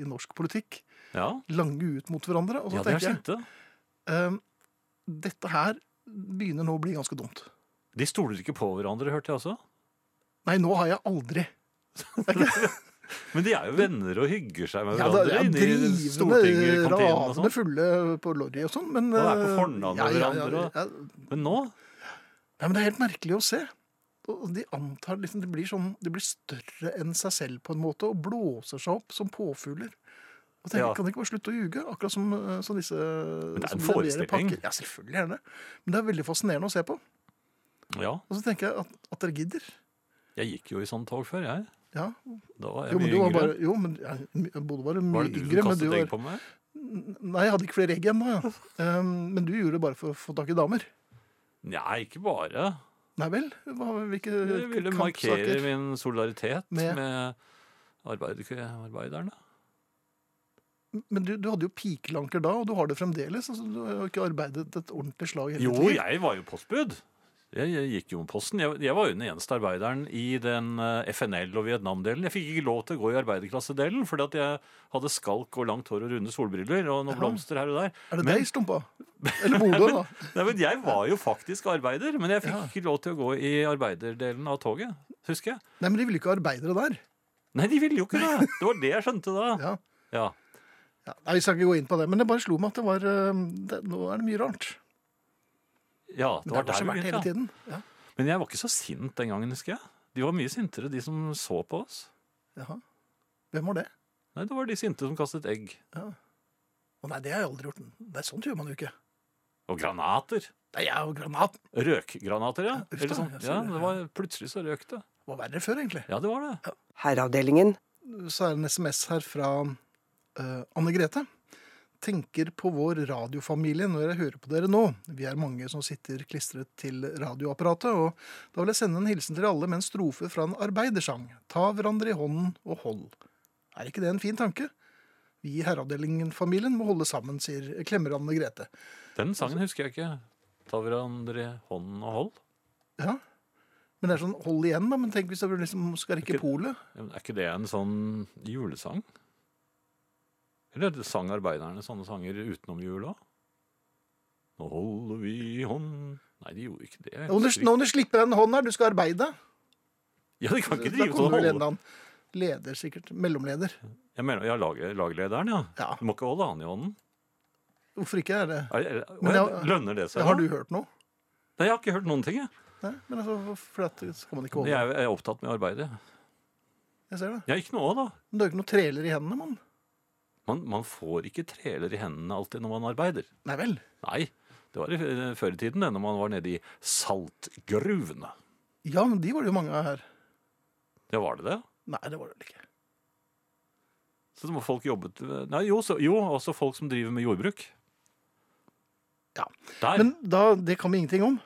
S3: i norsk politikk,
S4: Ja,
S3: lange ut mot hverandre. Og så
S4: ja de er
S3: tenker jeg
S4: sinte.
S3: eh, dette her begynner nå å bli ganske dumt.
S4: De stoler ikke på hverandre, hørte jeg også.
S3: Nei, nå har jeg aldri
S4: Men de er jo venner og hygger seg med
S3: Ja, da,
S4: hverandre
S3: jeg er
S4: inne i
S3: drivende
S4: Stortinget, kantinen og
S3: ravende
S4: sånn.
S3: fulle på lorry og sånn, men
S4: Og er på
S3: eh,
S4: fornavn med hverandre, og-
S3: ja,
S4: Men nå?
S3: Nei, men det er helt merkelig å se. Og de antar liksom, de blir, sånn, de blir større enn seg selv på en måte, og blåser seg opp som påfugler. Og tenker,
S4: Ja.
S3: Kan de ikke bare slutte å ljuge? Akkurat som, eh, som disse Men
S4: det er en forestilling.
S3: Ja, selvfølgelig er det. Men det er veldig fascinerende å se på.
S4: Ja,
S3: Og så tenker jeg at, at dere gidder.
S4: jeg gikk jo i sånn tog før, jeg.
S3: Ja.
S4: Da var jeg
S3: Jo, men du
S4: mye
S3: var
S4: yngre.
S3: bare, jo, men ja, my- både var du mye
S4: Var det du
S3: yngre,
S4: som
S3: men du
S4: kastet egg
S3: var
S4: på meg?
S3: Nei, jeg hadde ikke flere egg ennå, ja. Um, men du gjorde det bare for å få tak i damer.
S4: Nei, ikke bare.
S3: Nei vel? Hva, hvilke
S4: Jeg ville markere
S3: kampsaker?
S4: min solidaritet
S3: Med?
S4: med, arbeid, arbeiderne.
S3: Men du, du hadde jo pikelanker da, og du har det fremdeles. Altså, du har jo ikke arbeidet et ordentlig slag hele
S4: Jo,
S3: tiden.
S4: jeg var jo postbud. Jeg, jeg gikk jo med posten. Jeg, jeg var jo den eneste arbeideren i den eh, FNL- og Vietnam-delen. Jeg fikk ikke lov til å gå i arbeiderklassedelen, fordi at jeg hadde skalk og langt hår og runde solbriller og noen blomster her og der.
S3: Er det
S4: Men-
S3: deg, Stumpa? Eller Bodø, da?
S4: Nei, men Jeg var jo faktisk arbeider, men jeg fikk ikke lov til å gå i arbeiderdelen av toget, husker jeg.
S3: Nei, men de ville ikke ha arbeidere der.
S4: Nei, de ville jo ikke det! Det var det jeg skjønte da.
S3: Ja.
S4: Ja.
S3: Ja, nei, Vi skal ikke gå inn på det, men det bare slo meg at det var um, det, Nå er det mye rart.
S4: ja det
S3: det
S4: var
S3: har
S4: der
S3: så
S4: vi
S3: vært hele
S4: begynte. ja.
S3: tiden. Ja.
S4: Men jeg var ikke så sint den gangen, husker jeg. De var mye sintere, de som så på oss.
S3: Jaha. Hvem var det?
S4: Nei, det var de sinte som kastet egg.
S3: Å nei, det har jeg aldri gjort. Nei, sånt gjør man jo ikke.
S4: Og granater.
S3: Nei, jeg og granaten
S4: Røkgranater, ja.
S3: uff da,
S4: Eller sånn.
S3: jeg ser
S4: ja
S3: det,
S4: det var, plutselig så røk det.
S3: var verre før, egentlig.
S4: Ja, det var det.
S7: Herreavdelingen.
S3: så er det en SMS her fra eh, Anne Grete. Tenker på vår radiofamilie når jeg hører på dere nå. Vi er mange som sitter klistret til radioapparatet, og da vil jeg sende en hilsen til alle med en strofe fra en arbeidersang. Ta hverandre i hånden og hold. Er ikke det en fin tanke? Vi i Herreavdelingen-familien må holde sammen, sier klemmer Anne Grete.
S4: Den sangen husker jeg ikke. Ta hverandre i hånden og hold.
S3: Ja, Men det er sånn hold igjen, da. Men tenk hvis du liksom skal rekke
S4: Ikke-
S3: polet.
S4: Ja, men Er ikke det en sånn julesang? Eller sang arbeiderne sånne sanger utenom jula? Nå holder vi hånd Nei, de gjorde ikke det. Jeg
S3: Nå
S4: husker ikke.
S3: når du slipper den hånden her, du skal arbeide.
S4: Ja, de kan ikke
S3: Da
S4: drive sånn
S3: kommer
S4: og
S3: vel
S4: holde
S3: enda en leder, sikkert. Mellomleder.
S4: Jeg mener, ja, lag, laglederen, ja.
S3: Ja.
S4: Du må ikke holde han i hånden.
S3: Hvorfor ikke er det
S4: Er, er, å,
S3: Men
S4: ja,
S3: jeg-
S4: lønner det seg?
S3: Har
S4: da?
S3: du hørt noe?
S4: Nei, jeg har ikke hørt noen ting. Jeg,
S3: Nei, men altså, for at, så kan man ikke
S4: jeg
S3: holde.
S4: er, jeg er opptatt med arbeidet.
S3: Jeg ser det.
S4: Ja, ikke noe òg, da.
S3: Men det er jo ikke noe treler i hendene, mann.
S4: Man, man får ikke treler i hendene alltid når man arbeider.
S3: Nei vel.
S4: Nei, det var i f- før i tiden, det, når man var nede i saltgruvene.
S3: Ja, men de var det jo mange av her.
S4: Ja, var det det?
S3: Nei, det var det vel ikke.
S4: Så det var folk jobbet Nei, jo, så, jo, også folk som driver med jordbruk.
S3: Ja.
S4: Der
S3: Men da, det kan vi ingenting om.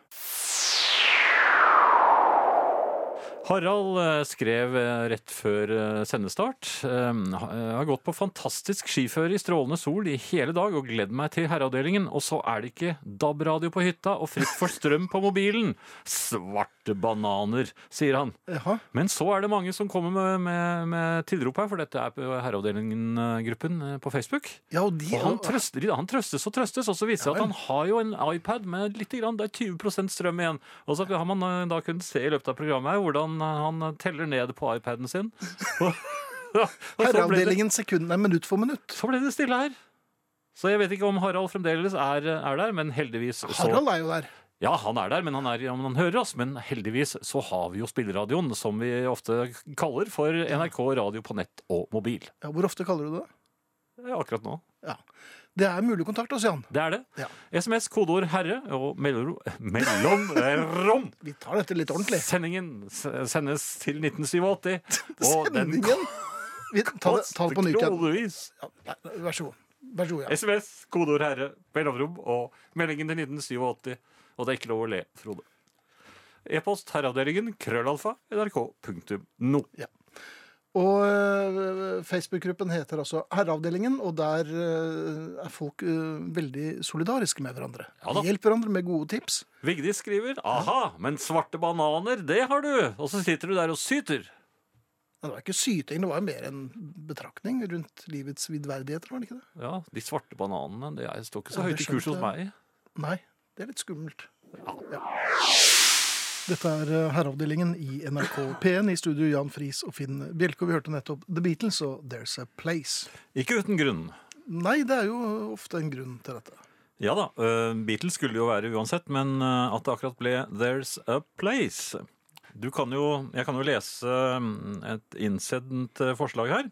S4: Harald eh, skrev eh, rett før eh, sendestart. eh, ha- eh, Har gått på fantastisk skiføre i strålende sol i hele dag og gledd meg til herreavdelingen. Og så er det ikke DAB-radio på hytta og fritt for strøm på mobilen. Svarte bananer, sier han.
S3: Jaha.
S4: Men så er det mange som kommer med, med, med tilrop her, for dette er på Herreavdelingen-gruppen eh, på Facebook.
S3: Ja, og de
S4: Og han, trøster, han trøstes og trøstes, og så viser det seg at han har jo en iPad med litt grann, det er 20 strøm igjen. Og så har man eh, da kunnet se i løpet av programmet her hvordan eh, han teller ned på iPaden sin. Og, og så, ble det,
S3: Herreavdelingen sekund, nei, minutt for minutt.
S4: så ble det stille her. Så jeg vet ikke om Harald fremdeles er, er der, men heldigvis så
S3: Harald er jo der.
S4: Ja, han er der, men han, er, ja, men han hører oss. Men heldigvis så har vi jo spilleradioen, som vi ofte kaller for NRK radio på nett og mobil.
S3: Ja, hvor ofte kaller du det?
S4: Ja, Akkurat nå.
S3: Ja. Det er mulig kontakt, altså, Jan.
S4: Det er det.
S3: Ja.
S4: SMS, kodeord 'herre' og mellomrom eh, mellomrom.
S3: Vi tar dette litt ordentlig.
S4: Sendingen s- sendes til 1987. Og den
S3: Sendingen! Vi tar det, ta
S4: koster
S3: det på nytt igjen.
S4: kronevis.
S3: Ja, nei, vær så god. Vær så god, ja.
S4: SMS, kodeord 'herre', mellomrom og meldingen til 1987. Og det er ikke lov å le, Frode. E-post herreavdelingen krøllalfa nrk.no.
S3: Og øh, Facebook-gruppen heter altså Herreavdelingen, og der øh, er folk øh, veldig solidariske med hverandre.
S4: Ja da.
S3: De hjelper hverandre med gode tips.
S4: Vigdis skriver 'aha, men svarte bananer, det har du'. Og så sitter du der og syter.
S3: Ja, Det var ikke syting, det var jo mer en betraktning rundt livets vidverdigheter, var det ikke det?
S4: Ja, de svarte bananene, det er- står ikke så
S3: Ja, det
S4: høyt i kurs hos
S3: skjønte
S4: meg.
S3: Nei, det er litt skummelt. Ja. Dette er øh, Herreavdelingen i NRK P1, i studio Jan Friis og Finn Bjelke. Og vi hørte nettopp The Beatles og There's a Place.
S4: Ikke uten grunn.
S3: Nei, det er jo ofte en grunn til dette.
S4: Ja da, eh, Beatles skulle jo være uansett, men eh, at det akkurat ble There's a Place. Du kan jo, jeg kan jo lese mm, et innsendt eh, forslag her.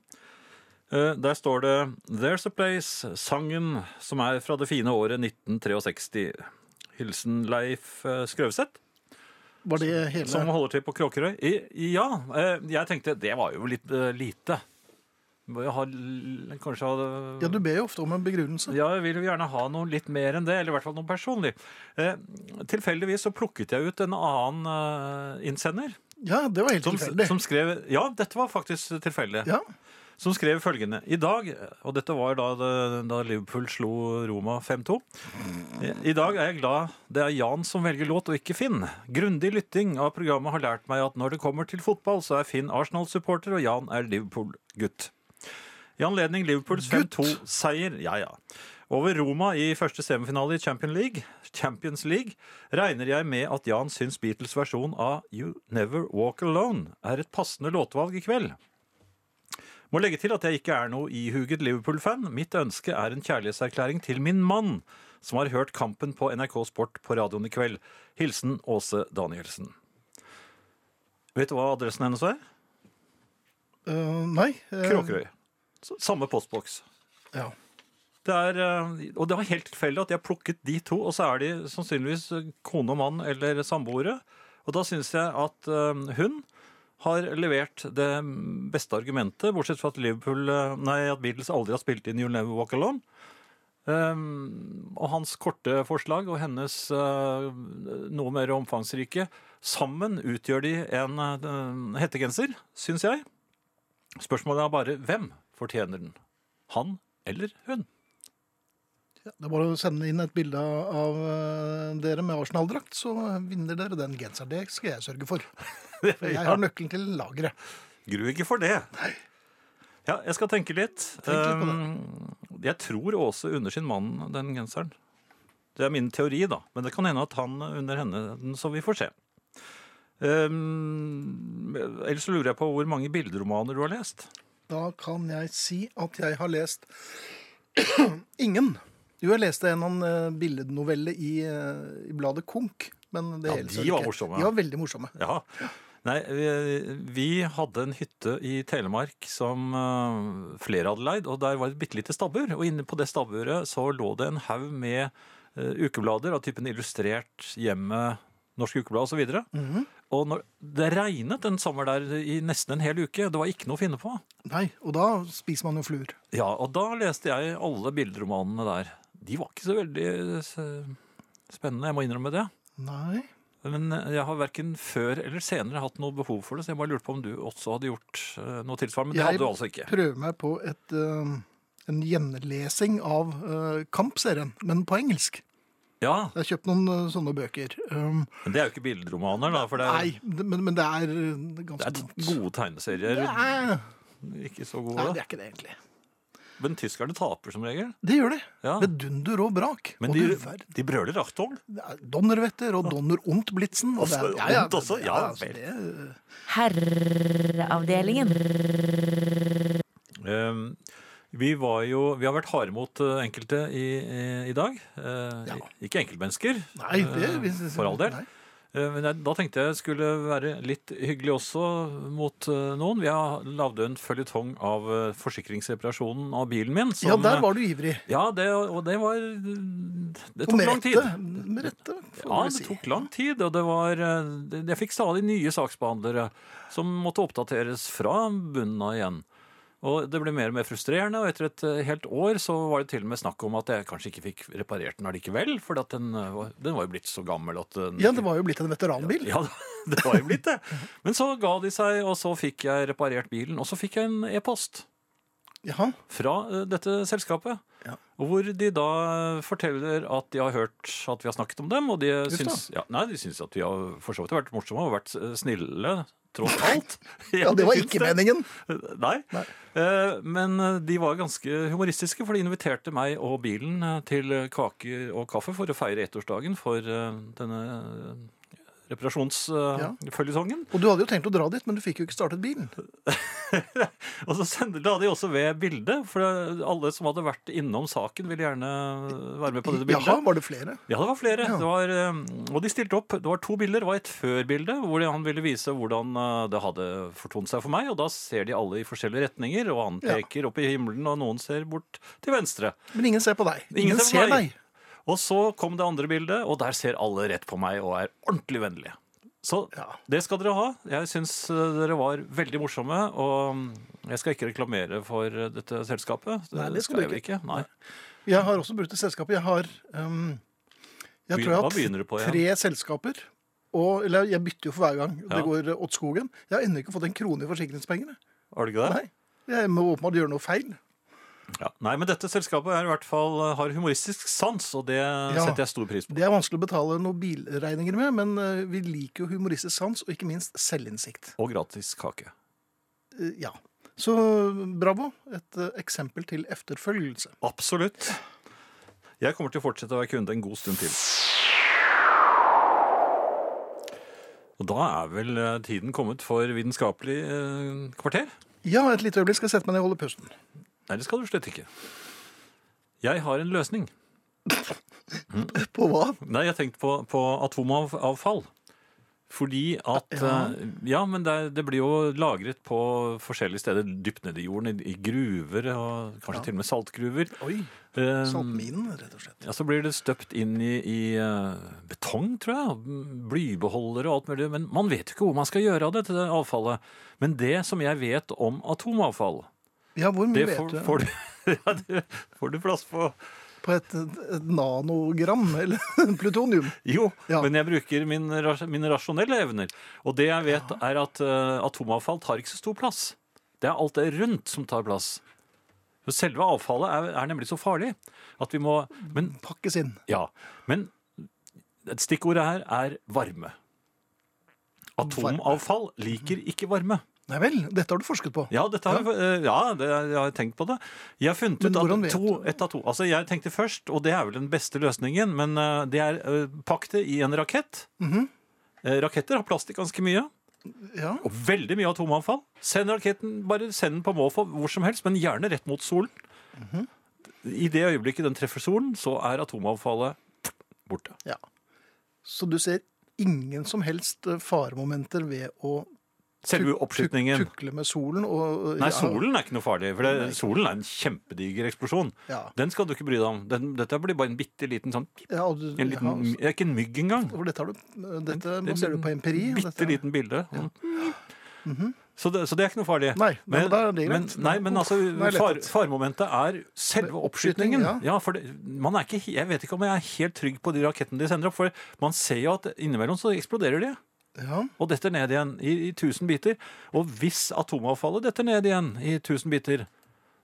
S4: Eh, Der står det There's a Place, sangen som er fra det fine året 1963. Hilsen Leif eh, Skrøvseth,
S3: Var det hele
S4: som holder til på Kråkerøy. I- Ja, eh, jeg tenkte det var jo litt eh, lite. Må jo ha l- Kanskje ha
S3: Ja, du ber jo ofte om en begrunnelse.
S4: Ja, jeg vil jo gjerne ha noe litt mer enn det, eller i hvert fall noe personlig. Eh, tilfeldigvis så plukket jeg ut en annen eh, innsender.
S3: Ja, det var helt
S4: Som,
S3: tilfeldig.
S4: som skrev Ja, dette var faktisk tilfeldig.
S3: Ja.
S4: Som skrev følgende I dag, og dette var da, det, da Liverpool slo Roma 5-2 I dag er jeg glad det er Jan som velger låt og ikke Finn. Grundig lytting av programmet har lært meg at når det kommer til fotball, så er Finn Arsenal-supporter, og Jan er Liverpool-gutt. I anledning Liverpools 5-2-seier ja, ja, over Roma i første semifinale i Champions League, Champions League regner jeg med at Jan syns Beatles versjon av You Never Walk Alone er et passende låtvalg i kveld. Må legge til at jeg ikke er noe ihuget Liverpool-fan. Mitt ønske er en kjærlighetserklæring til min mann, som har hørt kampen på NRK Sport på radioen i kveld. Hilsen Åse Danielsen. Vet du hva adressen hennes er?
S3: Eh, nei. eh,
S4: Kråkerøy. S- Samme postboks.
S3: Ja.
S4: Det er, eh, og det var helt tilfeldig at jeg plukket de to, og så er de sannsynligvis kone og mann eller samboere. Og da syns jeg at eh, hun har levert det beste argumentet, bortsett fra at Liverpool eh, Nei, at Beatles aldri har spilt inn You'll Never Walk Alone. Eh, og hans korte forslag og hennes eh, noe mer omfangsrike Sammen utgjør de en eh, hettegenser, syns jeg. Spørsmålet er bare hvem fortjener den? Han eller hun?
S3: Ja, det er bare å sende inn et bilde av eh, dere med Arsenal-drakt, så vinner dere den genseren. Det skal jeg sørge for. For jeg har nøkkelen til lageret.
S4: Gru ikke for det. Ja, jeg skal tenke litt.
S3: Tenk litt på
S4: Um, jeg tror Åse unner sin mann den genseren. Det er min teori, da. Men det kan hende at han unner henne den, så vi får se. Um, ellers så lurer jeg på hvor mange bilderomaner du har lest.
S3: Da kan jeg si at jeg har lest ingen. Jo, jeg leste en annen eh, billednovelle i, eh, i bladet Konk. Men det
S4: Ja,
S3: hele
S4: de
S3: ser det
S4: var
S3: ikke.
S4: morsomme.
S3: De var veldig morsomme.
S4: Ja. Nei, vi, vi hadde en hytte i Telemark som eh, flere hadde leid, og der var et bitte lite stabbur. Og inne på det stabburet så lå det en haug med eh, ukeblader av typen Illustrert, Hjemmet, Norsk Ukeblad osv. videre Og når, det regnet en sommer der i nesten en hel uke. Det var ikke noe å finne på.
S3: Nei, og da spiser man jo fluer.
S4: Ja, Og da leste jeg alle bilderomanene der. De var ikke så veldig eh, spennende, jeg må innrømme det.
S3: Nei.
S4: Men eh, jeg har verken før eller senere hatt noe behov for det, så jeg bare lurte på om du også hadde gjort eh, noe tilsvarende. Men det hadde du altså ikke.
S3: prøver meg på et, eh, en gjenlesing av eh, Kamp-serien, men på engelsk.
S4: Ja,
S3: Jeg har kjøpt noen eh, sånne bøker. Um,
S4: men det er jo ikke bilderomaner, da, for det er,
S3: nei, det- men, men det er eh,
S4: det
S3: ganske
S4: er
S3: dumt.
S4: gode tegneserier.
S3: Nei,
S4: Ikke så
S3: Nei,
S4: gode.
S3: det er ikke det, egentlig.
S4: Men tyskerne taper som regel.
S3: Det gjør de.
S4: Ja.
S3: Med dunder og brak.
S4: Men
S3: og
S4: de,
S3: du verden.
S4: de brøler Achtung.
S3: Det er Donnervetter og Donner und Blitzen. Og det er-
S4: Også Ondt også, ja, vel.
S3: altså, det-
S5: Herreavdelingen.
S4: Eh, vi, var jo, vi har vært harde mot eh, enkelte i, i, i dag. Eh,
S3: Ja.
S4: Ikke enkeltmennesker,
S3: Nei, det
S4: eh, for all del.
S3: Nei.
S4: Eh, Men jeg, da tenkte jeg skulle være litt hyggelig også mot eh, noen. Vi har lagd en føljetong av eh, forsikringsreparasjonen av bilen min.
S3: Ja, der var du ivrig.
S4: Ja, eh, det, og det var eh, Det
S3: Og
S4: tok
S3: med
S4: lang tid.
S3: rette. Med rette, får
S4: Ja,
S3: vi
S4: det
S3: si.
S4: tok lang tid, og det var eh, det- Jeg fikk stadig nye saksbehandlere som måtte oppdateres fra bunnen av igjen. Og det ble mer og mer frustrerende, og etter et eh, helt år så var det til og med snakk om at jeg kanskje ikke fikk reparert den allikevel, for at den, eh, var- den var jo blitt så gammel at eh, den
S3: Ja, det var jo blitt en veteranbil.
S4: ja, det var jo blitt det. Men så ga de seg, og så fikk jeg reparert bilen. Og så fikk jeg en e-post
S3: Jaha.
S4: fra eh, dette selskapet.
S3: Ja.
S4: Og hvor de da forteller at de har hørt at vi har snakket om dem, og de
S3: da.
S4: syns, ja, nei, de syns at vi har for så vidt vært morsomme og vært eh, snille tross alt.
S3: Ja, det var
S4: de syns
S3: ikke meningen.
S4: Nei.
S3: Nei.
S4: Eh, Men eh, de var ganske humoristiske, for de inviterte meg og bilen eh, til eh, kaker og kaffe for å feire ettårsdagen for eh, denne eh,
S3: Ja.
S4: reparasjonsføljetongen.
S3: Og du hadde jo tenkt å dra dit, men du fikk jo ikke startet bilen.
S4: Og så sender, la de også ved bildet, for eh, alle som hadde vært innom saken, ville gjerne være med på dette bildet.
S3: Jaha, var det flere?
S4: Ja, det var flere.
S3: Ja.
S4: Det var, eh, og de stilte opp. Det var to bilder. Det var et før-bilde, hvor han ville vise hvordan eh, det hadde fortont seg for meg. Og da ser de alle i forskjellige retninger, og han
S3: Ja.
S4: peker opp i himmelen, og noen ser bort til venstre.
S3: Men ingen ser på deg.
S4: Ingen ser på meg. Og så kom det andre bildet, og der ser alle rett på meg og er ordentlig vennlige. Så
S3: Ja.
S4: det skal dere ha. Jeg syns eh, dere var veldig morsomme, og mm, jeg skal ikke reklamere for eh, dette selskapet.
S3: Nei, det skal du
S4: jeg vel ikke. Nei.
S3: Jeg har også brukt et selskap. Jeg har um, Jeg
S4: Begyn-
S3: tror jeg
S4: hva begynner
S3: har
S4: du
S3: hatt
S4: på igjen?
S3: tre selskaper. Og, eller jeg bytter jo for hver gang
S4: Ja.
S3: det går åt skogen. Jeg har ennå ikke fått en krone i forsikringspenger. jeg.
S4: Har du ikke det?
S3: Nei. Jeg må åpenbart gjøre noe feil.
S4: Ja. Nei, men dette selskapet er i hvert fall eh, har humoristisk sans, og det setter jeg stor pris på.
S3: Det er vanskelig å betale noen bilregninger med, men eh, vi liker jo humoristisk sans og ikke minst selvinnsikt.
S4: Og gratis kake.
S3: Eh, Ja. Så bravo. Et eh, eksempel til efterfølgelse.
S4: Absolutt. Jeg kommer til å fortsette å være kunde en god stund til. Og da er vel eh, tiden kommet for vitenskapelig eh, kvarter?
S3: Ja, et lite øyeblikk skal jeg sette meg ned og holde pusten.
S4: Nei, det skal du slett ikke. Jeg har en løsning.
S3: På hva?
S4: Nei, jeg tenkte på, på atomavfall. Fordi at
S3: Ja.
S4: eh, Ja, men det, er- det blir jo lagret på forskjellige steder. Dypt nede i jorden, i, i gruver og kanskje til og med saltgruver.
S3: Oi.
S4: Eh,
S3: Saltminen, rett og slett.
S4: ja, Så blir det støpt inn i, i eh, betong, tror jeg. og Blybeholdere og alt mulig. Men man vet jo ikke hvor man skal gjøre av dette avfallet. Men det som jeg vet om atomavfall,
S3: Ja, hvor mye
S4: det får,
S3: vet du?
S4: får, du, ja, det får du plass på.
S3: På et, et nanogram, eller plutonium.
S4: Jo,
S3: Ja.
S4: men jeg bruker min, ras- mine rasjonelle evner. Og det jeg vet, er at eh, atomavfall tar ikke så stor plass. Det er alt det rundt som tar plass. For Selve avfallet er, er nemlig så farlig at vi må Men,
S3: Pakkes inn.
S4: ja, men et stikkordet her er varme. Atomavfall liker ikke varme.
S3: Nei vel, dette har du forsket på.
S4: Ja, dette har, jeg- eh, ja det, jeg har tenkt på det. Jeg har funnet
S3: Men
S4: ut
S3: hvordan vet
S4: at to, et av to Altså, jeg tenkte først, og det er vel den beste løsningen, men eh, det er eh, pakk det i en rakett.
S3: Mhm.
S4: Eh, Raketter har plastikk ganske mye,
S3: Ja.
S4: og veldig mye atomavfall. Send raketten, bare send den på måfå hvor som helst, men gjerne rett mot solen.
S3: Mhm.
S4: I det øyeblikket den treffer solen, så er atomavfallet borte.
S3: ja. Så du ser ingen som helst eh, faremomenter ved å
S4: Selve
S3: tuk- tuk-
S4: oppskytningen.
S3: tukle med solen og
S4: Nei,
S3: ja,
S4: solen er ikke noe farlig, for det, solen er en kjempediger eksplosjon.
S3: Ja.
S4: Den skal du ikke bry deg om. Den, dette blir bare en bitte liten sånn pip.
S3: Ja, og du,
S4: En liten,
S3: ja,
S4: my- det er ikke en mygg engang.
S3: For dette, har du, dette
S4: En
S3: baserer du på empiri. dette- Mhm.
S4: Bitte liten bilde. Sånn. Så, det, så det er ikke noe farlig.
S3: Nei, ja, men da er det
S4: men,
S3: greit.
S4: nei, men altså,
S3: Da er det
S4: far,
S3: lettet.
S4: faremomentet er selve oppskytingen. Ja.
S3: ja.
S4: for det, man er ikke, he- jeg vet ikke om jeg er helt trygg på de rakettene de sender opp, for man ser jo at innimellom så eksploderer de.
S3: Ja.
S4: og detter ned igjen i, i tusen biter. Og hvis atomavfallet detter ned igjen i tusen biter,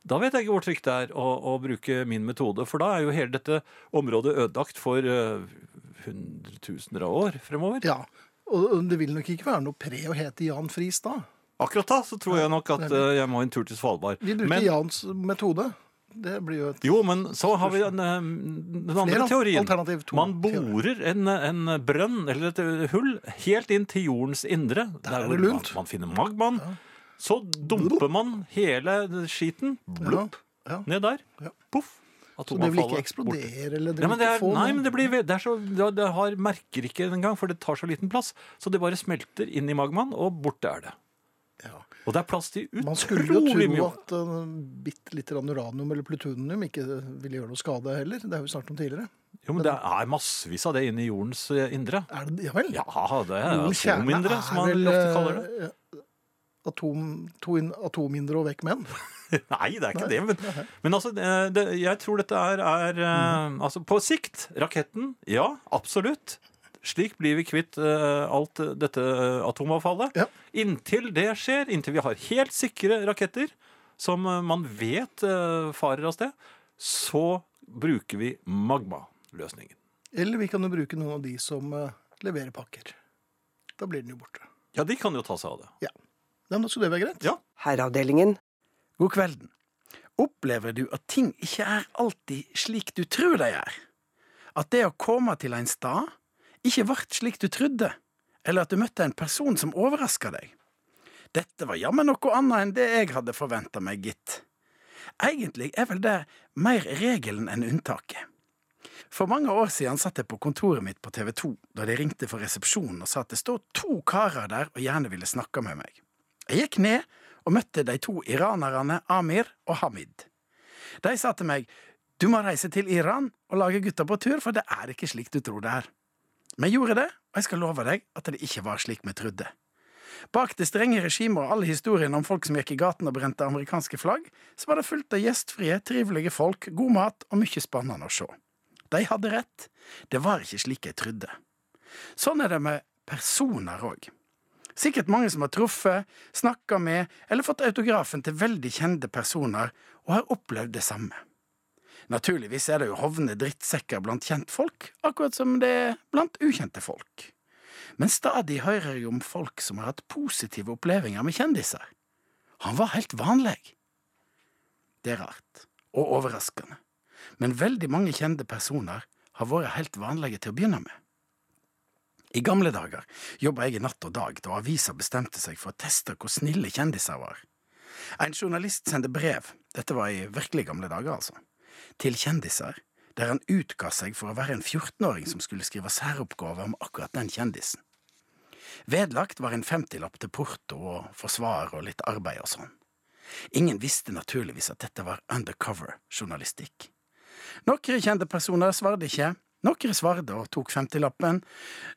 S4: da vet jeg ikke hvor trygt det er å, å bruke min metode, for da er jo hele dette området ødelagt for eh, hundretusener av år fremover.
S3: ja. Og det vil nok ikke være noe pre å hete Jan Friis da.
S4: Akkurat da så tror jeg nok at eh, jeg må en tur til Svalbard.
S3: Vi bruker
S4: Men,
S3: Jans metode. Det blir jo et
S4: jo, men så har vi den, eh, den andre
S3: Flere
S4: teorien.
S3: alternativ to
S4: Man
S3: teorier.
S4: borer en, en brønn eller et hull helt inn til jordens indre.
S3: er
S4: hvor
S3: det lunt.
S4: Man, man finner magmaen. Så dumper man hele skiten blupp,
S3: Ja, ja.
S4: ned der.
S3: Ja.
S4: Poff.
S3: Så det vil ikke
S4: Atomavfallet borte.
S3: eksplodere eller det
S4: Ja,
S3: vil
S4: men det
S3: ikke
S4: er,
S3: få
S4: nei,
S3: noen-
S4: men det, blir, ve- det, er så, det, det har, merker ikke engang, for det tar så liten plass. Så det bare smelter inn i magmaen, og borte er det.
S3: Ja.
S4: Og det er plass til
S3: Man skulle jo
S4: utrolig
S3: tro
S4: mye.
S3: at eh, bitte litt grann uranium eller plutonium ikke eh, ville gjøre noe skade heller. Det har vi snakket om tidligere.
S4: Jo, men det er massevis av det inne i jordens eh, indre.
S3: Er det, ja vel?
S4: Ja, det er altså
S3: Jordens kjerne
S4: atomindre, som
S3: er
S4: man
S3: vel,
S4: ofte kaller det.
S3: eh, Atom, to in, atomindre og vekk menn.
S4: Nei, det er ikke det. Men, men altså, det, det, jeg tror dette er, er eh,
S3: Mm.
S4: Altså, på sikt, raketten, ja, absolutt. Slik blir vi kvitt eh, alt dette eh, atomavfallet.
S3: Ja.
S4: Inntil det skjer, inntil vi har helt sikre raketter som eh, man vet eh, farer av sted, så bruker vi magma-løsningen.
S3: Eller vi kan jo bruke noen av de som eh, leverer pakker. Da blir den jo borte.
S4: Ja, de kan jo ta seg av det.
S3: Ja. Nei, men da skulle det være greit.
S4: Ja.
S7: Herreavdelingen.
S8: God kvelden. Opplever du at ting ikke er alltid slik du tror de er? At det å komme til en stad ikke vart slik du trodde, eller at du møtte en person som overraska deg? Dette var jammen noe annet enn det jeg hadde forventa meg, gitt. Egentlig er vel det mer regelen enn unntaket. For mange år siden satt jeg på kontoret mitt på TV 2 da de ringte fra resepsjonen og sa at det står to karer der og gjerne ville snakke med meg. Jeg gikk ned og møtte de to iranerne Amir og Hamid. De sa til meg du må reise til Iran og lage gutta på tur, for det er ikke slik du tror det er. Vi gjorde det, og jeg skal love deg at det ikke var slik vi trodde. Bak det strenge regimet og alle historiene om folk som gikk i gaten og brente amerikanske flagg, så var det fullt av gjestfrie, trivelige folk, god mat og mye spennende å se. De hadde rett, det var ikke slik jeg trodde. Sånn er det med personer òg. Sikkert mange som har truffet, snakka med eller fått autografen til veldig kjente personer og har opplevd det samme. Naturligvis er det jo hovne drittsekker blant kjentfolk, akkurat som det er blant ukjente folk. Men stadig hører jeg om folk som har hatt positive opplevelser med kjendiser. Han var helt vanlig. Det er rart, og overraskende, men veldig mange kjente personer har vært helt vanlige til å begynne med. I gamle dager jobba jeg i natt og dag da avisa bestemte seg for å teste hvor snille kjendiser var. En journalist sendte brev, dette var i virkelig gamle dager altså, til kjendiser, der han utga seg for å være en 14-åring som skulle skrive særoppgave om akkurat den kjendisen. Vedlagt var en 50-lapp til porto og forsvar og litt arbeid og sånn. Ingen visste naturligvis at dette var undercover-journalistikk. Noen kjente personer svarte ikke. Noen svarte og tok 50-lappen.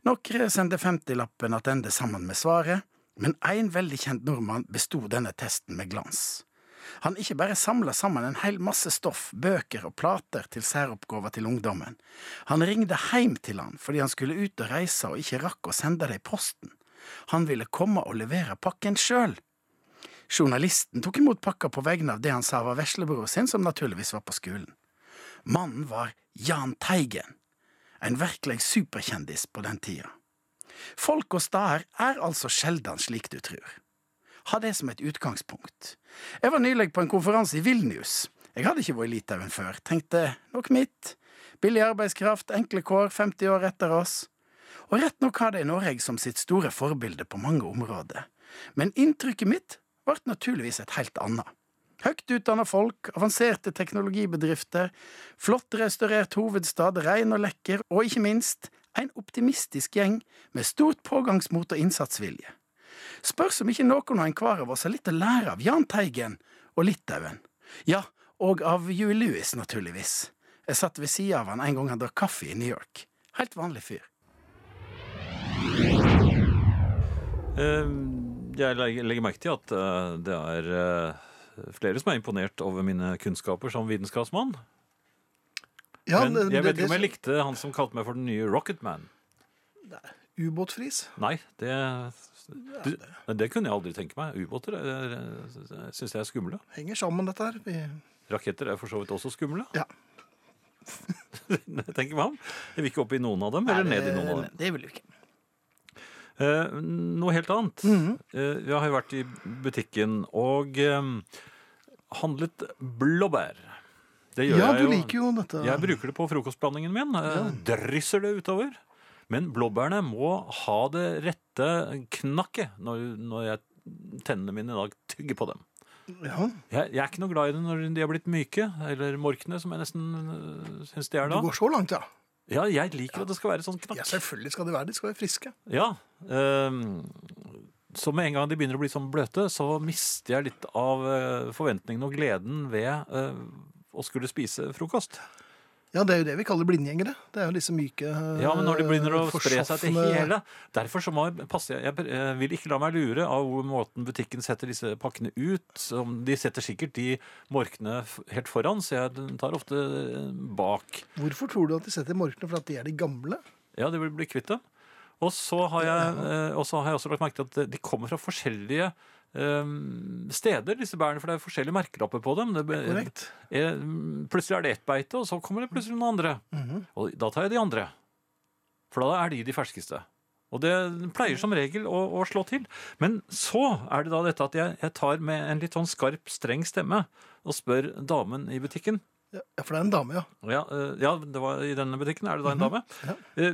S8: Noen sendte 50-lappen tilbake sammen med svaret. Men én veldig kjent nordmann besto denne testen med glans. Han ikke bare samla sammen en hel masse stoff, bøker og plater til særoppgaver til ungdommen. Han ringte heim til han fordi han skulle ut og reise og ikke rakk å sende det i posten. Han ville komme og levere pakken sjøl. Journalisten tok imot pakka på vegne av det han sa var veslebroren sin, som naturligvis var på skolen. Mannen var Jahn Teigen, en virkelig superkjendis på den tida. Folk og stader er altså sjelden slik du tror. Ha det som et utgangspunkt. Jeg var nylig på en konferanse i Vilnius. Jeg hadde ikke vært i Litauen før. Tenkte nok mitt. Billig arbeidskraft, enkle kår, 50 år etter oss. Og rett nok har de Norge som sitt store forbilde på mange områder. Men inntrykket mitt ble naturligvis et helt annet. Høyt utdanna folk, avanserte teknologibedrifter, flott restaurert hovedstad, rein og lekker, og ikke minst en optimistisk gjeng med stort pågangsmot og innsatsvilje. Spørs om ikke noen og enhver av oss har litt å lære av Jahn Teigen og Litauen. Ja, og av Huey Lewis, naturligvis. Jeg satt ved sida av han en gang han drakk kaffe i New York. Helt vanlig fyr.
S4: Eh, Jeg leg- legger merke til at eh, det er eh, flere som er imponert over mine kunnskaper som vitenskapsmann.
S3: Ja,
S4: Men
S3: det-
S4: jeg
S3: det-
S4: vet ikke om jeg likte han som kalte meg for den nye Rocketman.
S3: Ubåtfris?
S4: Nei, det, du, nei, det kunne jeg aldri tenke meg. Ubåter eh, syns jeg er skumle.
S3: Henger sammen, dette her. Vi-
S4: Raketter er for så vidt også skumle.
S3: Ja.
S4: Jeg tenker meg om. Jeg vil ikke opp i noen av dem, eller ned i noen av dem.
S3: Det vil vi ikke.
S4: Eh, noe helt annet.
S3: Mhm.
S4: Eh, jeg har jo vært i butikken og eh, handlet blåbær. Det gjør
S3: Ja,
S4: jeg
S3: du
S4: jo.
S3: liker jo dette.
S4: Jeg bruker det på frokostblandingen min. eh, Drysser det utover. Men blåbærene må ha det rette knakket når, når jeg tennene mine i dag tygger på dem.
S3: Ja,
S4: Jeg, jeg er ikke noe glad i det når de er blitt myke, eller morkne, som jeg nesten syns de er
S3: du
S4: da.
S3: går så langt, ja.
S4: Ja, jeg liker at det skal være sånn knakk.
S3: Ja, selvfølgelig skal de være det. De skal være friske.
S4: Ja. ehm, så med en gang de begynner å bli sånn bløte, så mister jeg litt av eh, forventningen og gleden ved eh, å skulle spise frokost.
S3: Ja, det er jo det vi kaller blindgjengere. Det er jo disse myke eh,
S4: Ja, men når de begynner å spre seg til
S3: forsofne-
S4: hele Derfor så må jeg passe Jeg eh, vil ikke la meg lure av hvor måten butikken setter disse pakkene ut. som De setter sikkert de morkene f- helt foran, så jeg tar ofte eh, bak.
S3: Hvorfor tror du at de setter morkene? For at de er de gamle?
S4: Ja, de vil bli kvitt dem. Og så har jeg, eh, og så har jeg også lagt merke til at de kommer fra forskjellige eh, steder, disse bærene, for det er forskjellige merkelapper på dem. Det,
S3: Korrekt.
S4: eh, plutselig er det ett beite, og så kommer det plutselig noen andre. Og da tar jeg de andre. For da er de de ferskeste. Og det pleier som regel å, å slå til. Men så er det da dette at jeg, jeg tar med en litt sånn skarp, streng stemme og spør damen i butikken
S3: Ja, for det er en dame, ja.
S4: ja, eh, ja det var i denne butikken er det da
S3: Mhm.
S4: en dame. Eh,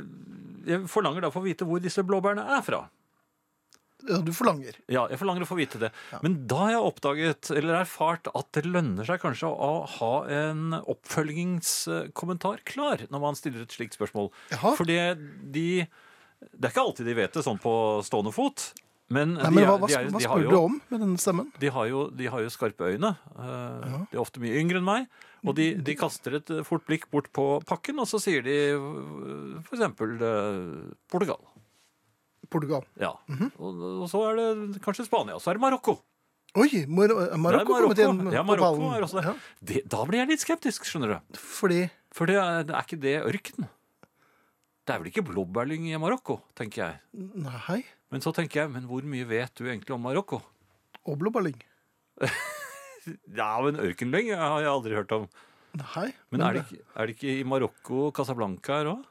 S4: Jeg forlanger da å få vite hvor disse blåbærene er fra.
S3: ja. Du forlanger.
S4: Ja, jeg forlanger å få vite det. Men da har jeg oppdaget, eller erfart, at det lønner seg kanskje å ha en oppfølgingskommentar klar når man stiller et slikt spørsmål.
S3: Jaha.
S4: Fordi de Det er ikke alltid de vet det sånn på stående fot. Men,
S3: Nei,
S4: de,
S3: men
S4: er-
S3: hva, hva,
S4: de, er,
S3: hva
S4: de har
S3: spør
S4: jo
S3: du om med denne stemmen?
S4: de har jo, de har jo skarpe øyne. eh, De er ofte mye yngre enn meg. Og de, de kaster et eh, fort blikk bort på pakken, og så sier de eh, for eksempel eh, Portugal.
S3: Portugal.
S4: Ja.
S3: Mhm.
S4: og, og så er det kanskje Spania. Så er det Marokko.
S3: Oi, Mar er
S4: Det er
S3: Marokko kommet igjen
S4: Ja,
S3: på
S4: Marokko
S3: ballen.
S4: er også det.
S3: Ja,
S4: Det, da blir jeg litt skeptisk, skjønner du.
S3: fordi
S4: For det er, er ikke det ørken? Det er vel ikke blåbærlyng i Marokko, tenker jeg.
S3: Nei.
S4: Men så tenker jeg, men hvor mye vet du egentlig om Marokko?
S3: Oblåballing.
S4: Ja, men ørkenlyng har jeg aldri hørt om.
S3: Nei.
S4: Men er det, ikke, er det ikke i Marokko Casablanca her òg?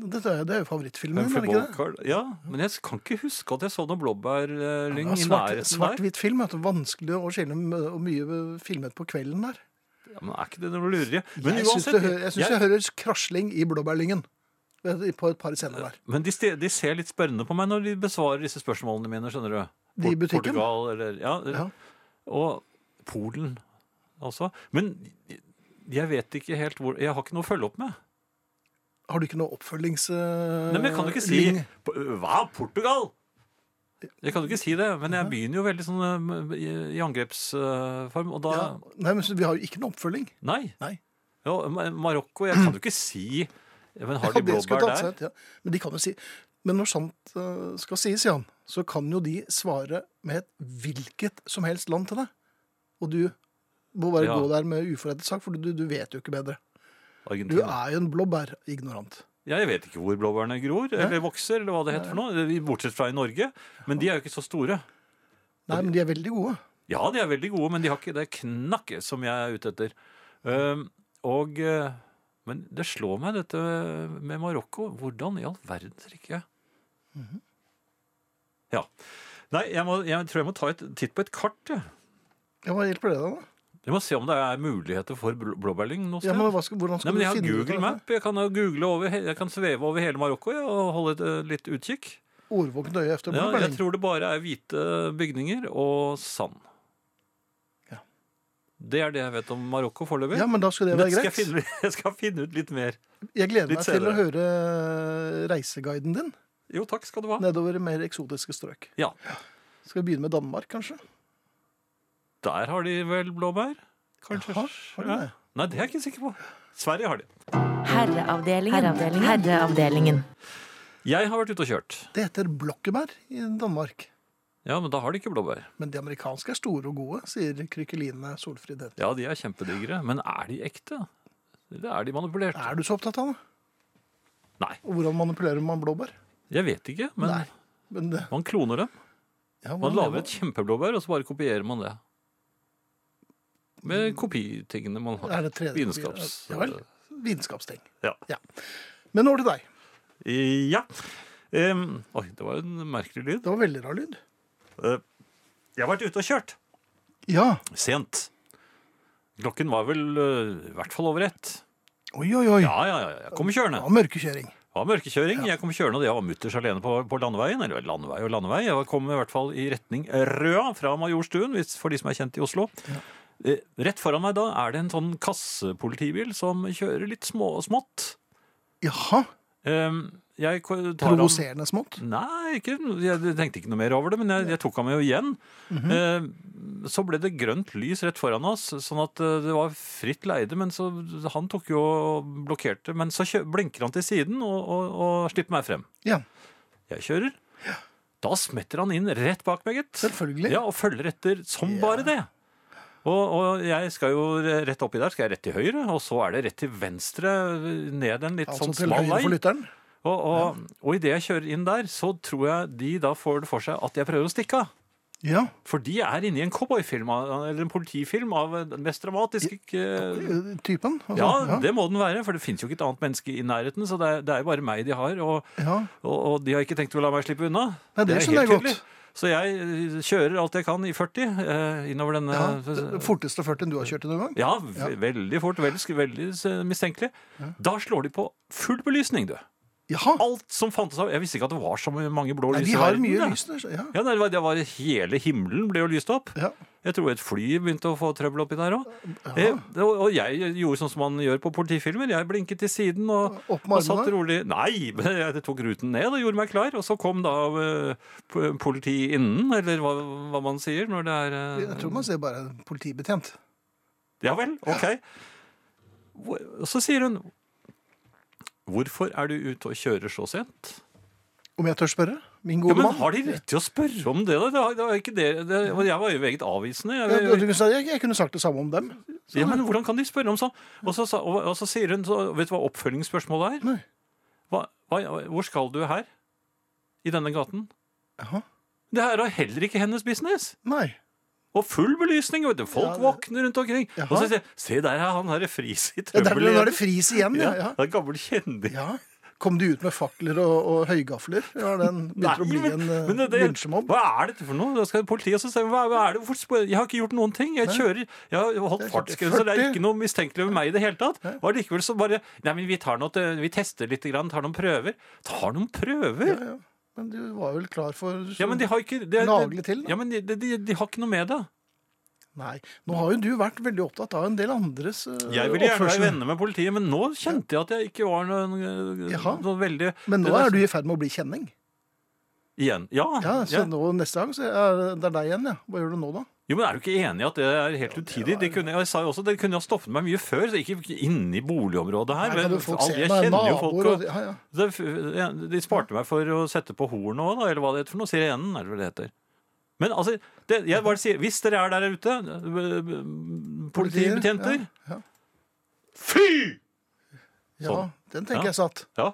S3: Dette er, det er jo favorittfilmen,
S4: Men
S3: er det ikke det?
S4: Ja, men jeg kan ikke huske at jeg så noen blåbærlyng
S3: Ja,
S4: i
S3: svart-
S4: nærheten der.
S3: Svart-hvitt film. Er det vanskelig å skille med- og mye eh, filmet på kvelden der.
S4: Ja, men er ikke det noe lureri? Men
S3: Jeg syns det hø- jeg, syns
S4: jeg-
S3: jeg hører krasling i blåbærlyngen ved- på et par scener der.
S4: men de, ste- de ser litt spørrende på meg når de besvarer disse spørsmålene mine, skjønner du.
S3: De i
S4: Port-
S3: butikken?
S4: Portugal eller ja,
S3: Ja.
S4: Og Polen også. Men jeg vet ikke helt hvor Jeg har ikke noe å følge opp med.
S3: Har du ikke noe oppfølgings... eh,
S4: Nei, men jeg kan jo ikke si P- Hva? Portugal? Jeg kan jo ikke si det, men jeg begynner jo veldig sånn eh, i i angrepsform, og da
S3: ja. Nei, men så- Vi har jo ikke noe oppfølging.
S4: Nei.
S3: Nei.
S4: Ja, Ma- Marokko, jeg kan jo ikke si Men har de
S3: Ja, det skulle
S4: blåbær
S3: tatt seg
S4: der?
S3: ut, Ja. Men de kan jo si Men når sant eh, skal sies, Jan, så kan jo de svare med et hvilket som helst land til deg. Og du må bare
S4: Ja.
S3: gå der med uforrettet sak, for du, du vet jo ikke bedre. Du
S4: Argentina.
S3: er jo en blåbærignorant.
S4: Ja, jeg vet ikke hvor blåbærene gror, eller vokser, eller hva det heter for noe. Bortsett fra i Norge. Men de er jo ikke så store.
S3: Nei, men de er veldig gode.
S4: Ja, de er veldig gode, men de har ikke det knakket som jeg er ute etter. Ehm, og, eh, men det slår meg, dette med Marokko. Hvordan i all verden drikker jeg?
S3: Mhm.
S4: Ja. Nei, jeg, må, jeg tror jeg må ta et titt på et kart. Jeg.
S3: Ja, Hva hjelper det deg, da?
S4: jeg må se om det er muligheter for bl- blåbærlyng noe sted.
S3: Ja, men hva skal, hvordan
S4: Nei,
S3: skal
S4: men
S3: du
S4: jeg har
S3: finne ut av
S4: Google
S3: dette?
S4: Map. Jeg kan, jo google over, he- jeg kan sveve over hele Marokko ja, og holde et, eh, litt utkikk.
S3: Årvåkent øye etter
S4: Ja, jeg
S3: blåbærlyng.
S4: tror det bare er hvite bygninger og sand.
S3: Ja.
S4: Det er det jeg vet om Marokko foreløpig.
S3: Ja, men da skal det
S4: Men
S3: være
S4: skal jeg,
S3: greit.
S4: finne, jeg skal finne ut litt mer.
S3: Jeg gleder
S4: litt
S3: meg til å
S4: senere.
S3: høre eh, reiseguiden din
S4: Jo, takk skal du ha.
S3: nedover i mer eksotiske strøk.
S4: Ja,
S3: Skal vi begynne med Danmark, kanskje?
S4: Der har de vel blåbær? Kanskje?
S3: Jaha, har de
S4: Ja.
S3: det?
S4: Nei, det er jeg ikke sikker på. Sverige har de.
S5: Herreavdelingen. Herreavdelingen. Herreavdelingen.
S4: Jeg har vært ute og kjørt.
S3: Det heter blokkebær i Danmark.
S4: Ja, men da har de ikke blåbær.
S3: Men de amerikanske er store og gode, sier Krykeline Solfrid Hedvig.
S4: Ja, de er kjempedigre. Men er de ekte? Eller er de manipulert?
S3: Er du så opptatt av det?
S4: Nei,
S3: Og hvordan manipulerer man blåbær?
S4: jeg vet ikke. Men
S3: Nei. Men det,
S4: man kloner dem.
S3: ja,
S4: Man
S3: hvordan
S4: lager
S3: lever
S4: et kjempeblåbær, og så bare kopierer man det. Med kopitingene man har.
S3: Er det 3D-kopier?
S4: Vitenskaps...
S3: Ja vel. Vitenskapsting.
S4: Ja.
S3: Men over til deg.
S4: Eh, Ja. Em, oi, det var en merkelig lyd.
S3: Det var veldig rar lyd.
S4: Eh, jeg har vært ute og kjørt.
S3: Ja.
S4: Sent. Klokken var vel eh, i hvert fall over ett.
S3: Oi, oi, oi.
S4: Ja, ja, ja. Jeg kom kjørende.
S3: Det var mørkekjøring.
S4: Det var mørkekjøring. Jeg kom kjørende, og jeg var mutters alene på, på landeveien. Eller landevei og landevei. Jeg kom i hvert fall i retning Røa fra Majorstuen, hvis, for de som er kjent i Oslo. Eh, Rett foran meg da er det en sånn kassepolitibil som kjører litt små, smått.
S3: Jaha.
S4: Em, Jeg ko- tar ham
S3: Provoserende smått.
S4: Nei, ikke, jeg tenkte ikke noe mer over det, men jeg, jeg tok ham jo igjen.
S3: Mhm.
S4: eh, så ble det grønt lys rett foran oss, sånn at eh, det var fritt leide. Men så, han tok jo og blokkerte, men så kjø, blinker han til siden og, og, og slipper meg frem.
S3: Ja.
S4: Jeg kjører. Da smetter han inn rett bak meg, gitt.
S3: Selvfølgelig.
S4: Ja, og følger etter som bare det. Og, og jeg skal jo rett oppi der, skal jeg rett til høyre, og så er det rett til venstre, ned en litt
S3: Altså
S4: sånn
S3: til
S4: smal
S3: høyre
S4: vei.
S3: for lytteren.
S4: Og, og, og idet jeg kjører inn der, så tror jeg de da får det for seg at jeg prøver å stikke av.
S3: Ja.
S4: For de er inne i en cowboyfilm, eller en politifilm av den mest dramatiske ikke-
S3: Eh, Typen. altså.
S4: Ja, det må den være, for det fins jo ikke et annet menneske i nærheten. Så det er, det er jo bare meg de har, og,
S3: ja.
S4: og, og de har ikke tenkt å la meg slippe unna.
S3: Nei, det
S4: er
S3: skjønner
S4: helt
S3: jeg godt.
S4: tydelig. Så jeg eh, kjører alt jeg kan i 40 eh, innover denne
S3: ja. Det Forteste 40 du har kjørt i noen gang?
S4: Ja, ve- veldig fort. Veldig, sk- veldig eh, mistenkelig. Da slår de på full belysning, du.
S3: Jaha.
S4: Alt som fantes av Jeg visste ikke at det var så mange blå
S3: Nei,
S4: lys
S3: de
S4: i
S3: har
S4: verden,
S3: mye
S4: da.
S3: lys der. så- Ja.
S4: Ja, det var, det var Hele himmelen ble jo lyst opp.
S3: Ja.
S4: Jeg tror et fly begynte å få trøbbel oppi der òg. Og og jeg gjorde sånn som man gjør på politifilmer. Jeg blinket til siden og,
S3: Opp med
S4: og satt
S3: armene?
S4: rolig Nei, men jeg tok ruten ned og gjorde meg klar. Og så kom da eh, p- politiet innen, eller hva, hva man sier når det er eh,
S3: Jeg tror man ser bare en politibetjent.
S4: Ja vel, ok. Hvor- Og så sier hun Hvorfor er du ute og kjører så sent?
S3: Om jeg tør spørre? Min
S4: Ja,
S3: gode
S4: men
S3: mann.
S4: Har de rett til å spørre om det? da? Det var, det var ikke det. det jeg var jo meget avvisende.
S3: Ja,
S4: Jeg,
S3: du- du kunne sagt, Jeg, jeg kunne sagt det samme om dem.
S4: ja, men hvordan kan de spørre om sånn? Og så, sa- og, og så sier hun så, Vet du hva oppfølgingsspørsmålet er?
S3: Nei.
S4: Hva, hva, hvor skal du her? I denne gaten?
S3: Jaha.
S4: Det her er heller ikke hennes business.
S3: Nei.
S4: Og full belysning! vet du. Folk
S3: Ja, det-
S4: våkner rundt omkring.
S3: Jaha.
S4: Og så sier jeg, Se der er han her i fris i
S3: Ja, der
S4: trøbbel
S3: ble nå er
S4: igjen.
S3: det fris igjen, ja.
S4: Ja,
S3: ja.
S4: det er gammel kjendis.
S3: ja. Kom de ut med fakler og, og høygafler? Ja, den begynte å bli en eh,
S4: men det- det-
S3: lynsjemobb.
S4: Hva er dette for noe? Da skal politiet også si hva, hva er det? Hvorfor spør- Jeg har ikke gjort noen ting. Jeg kjører, jeg har holdt
S3: Det er
S4: fartsgrense. Det er
S3: 40.
S4: ikke noe mistenkelig over meg i det hele tatt. Og allikevel så bare Nei, men vi, tar noe, til- vi tester litt, grann, tar noen prøver. Tar noen prøver?
S3: Ja, ja. Men du var vel klar for
S4: Ja, men de har ikke det- det-
S3: Nagle til, da.
S4: Ja, men de, de, de har ikke noe med det.
S3: Nei. Nå har jo du vært veldig opptatt av en del andres eh, oppførsel.
S4: Jeg ville gjerne være venner med politiet, men nå kjente jeg at jeg ikke var noen,
S3: Jaha.
S4: noe veldig
S3: Men nå er du i ferd med å bli kjenning.
S4: Igjen. Ja.
S3: Ja, så
S4: ja.
S3: nå neste gang så er det er deg igjen, ja. Hva gjør du nå, da?
S4: Jo, men Er du ikke enig i at det er helt utidig? De kunne, jeg sa jo også, det kunne ha stoppet meg mye før. så Ikke inne i boligområdet
S3: Her
S4: her.
S3: kan
S4: men
S3: jo folk
S4: alle-
S3: se
S4: jeg
S3: meg,
S4: kjenner jo folk,
S3: naboer
S4: og,
S3: og ja, ja.
S4: det, De sparte meg for å sette på hornet òg, eller hva det heter for noe. Sirenen, er det vel det heter. Men altså, det, jeg bare sier, hvis dere er der ute, b- b- politibetjenter
S3: Ja, ja.
S4: Fy!
S3: Ja,
S4: Sånn.
S3: den tenker
S4: Ja.
S3: jeg satt.
S4: Ja.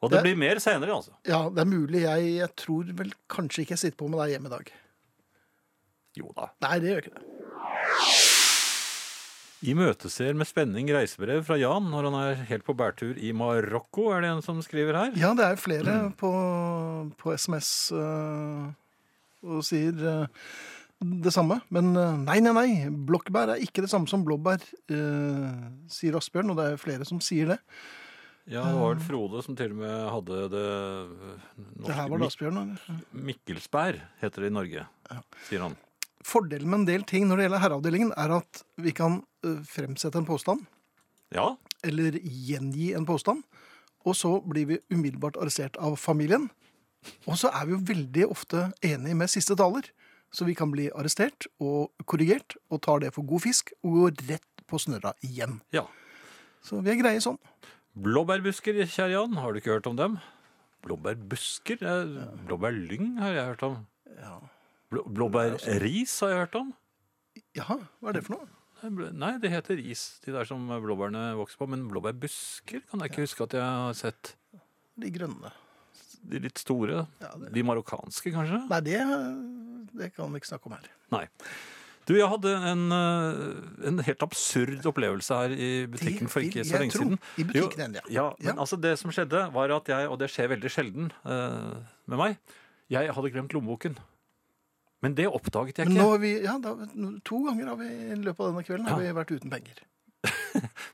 S4: Og
S3: Det-
S4: det blir mer senere, altså.
S3: Ja, det er mulig jeg, jeg tror vel kanskje ikke jeg sitter på med deg hjemme i dag.
S4: Jo da.
S3: Nei, det gjør ikke det.
S4: Imøteser med spenning reisebrev fra Jan når han er helt på bærtur i Marokko, er det en som skriver her.
S3: Ja, det er flere
S4: Mm.
S3: på, på SMS øh, og sier øh, det samme. Men øh, nei, nei, nei. Blokkbær er ikke det samme som blåbær, øh, sier Asbjørn. Og det er flere som sier det.
S4: Ja, det var vel Frode som til og med hadde det norske
S3: Det her var det Asbjørn. eller?
S4: Mik- Mikkelsberg, heter det i Norge, sier han.
S3: Fordelen med en del ting når det gjelder herreavdelingen, er at vi kan øh, fremsette en påstand,
S4: Ja,
S3: eller gjengi en påstand, og så blir vi umiddelbart arrestert av familien. Og så er vi jo veldig ofte enige med siste taler, så vi kan bli arrestert og korrigert, og tar det for god fisk, og går rett på snørra igjen.
S4: ja.
S3: Så vi er greie sånn.
S4: Blåbærbusker, kjære Jan, har du ikke hørt om dem? Blåbærbusker? Eh, Blåbærlyng har jeg hørt om. Blå, blåbærris har jeg hørt om.
S3: Jaha, hva er det for noe?
S4: Nei, bl- Nei, det heter ris, de der som blåbærene vokser på. Men blåbærbusker kan jeg ikke huske at jeg har sett.
S3: De grønne.
S4: De litt store. De marokkanske, kanskje?
S3: Nei, det, det kan vi ikke snakke om her.
S4: Nei. Du, jeg hadde en, eh, en helt absurd opplevelse her i butikken for ikke
S3: vil
S4: så
S3: jeg
S4: lenge
S3: tro.
S4: siden.
S3: I butikken igjen, ja.
S4: ja. Men
S3: Ja.
S4: altså, det som skjedde, var at jeg, og det skjer veldig sjelden eh, med meg, jeg hadde glemt lommeboken. Men det oppdaget jeg
S3: Men
S4: ikke.
S3: nå har vi, ja, da, to ganger har vi i løpet av denne kvelden har
S4: Ja.
S3: vi vært uten penger.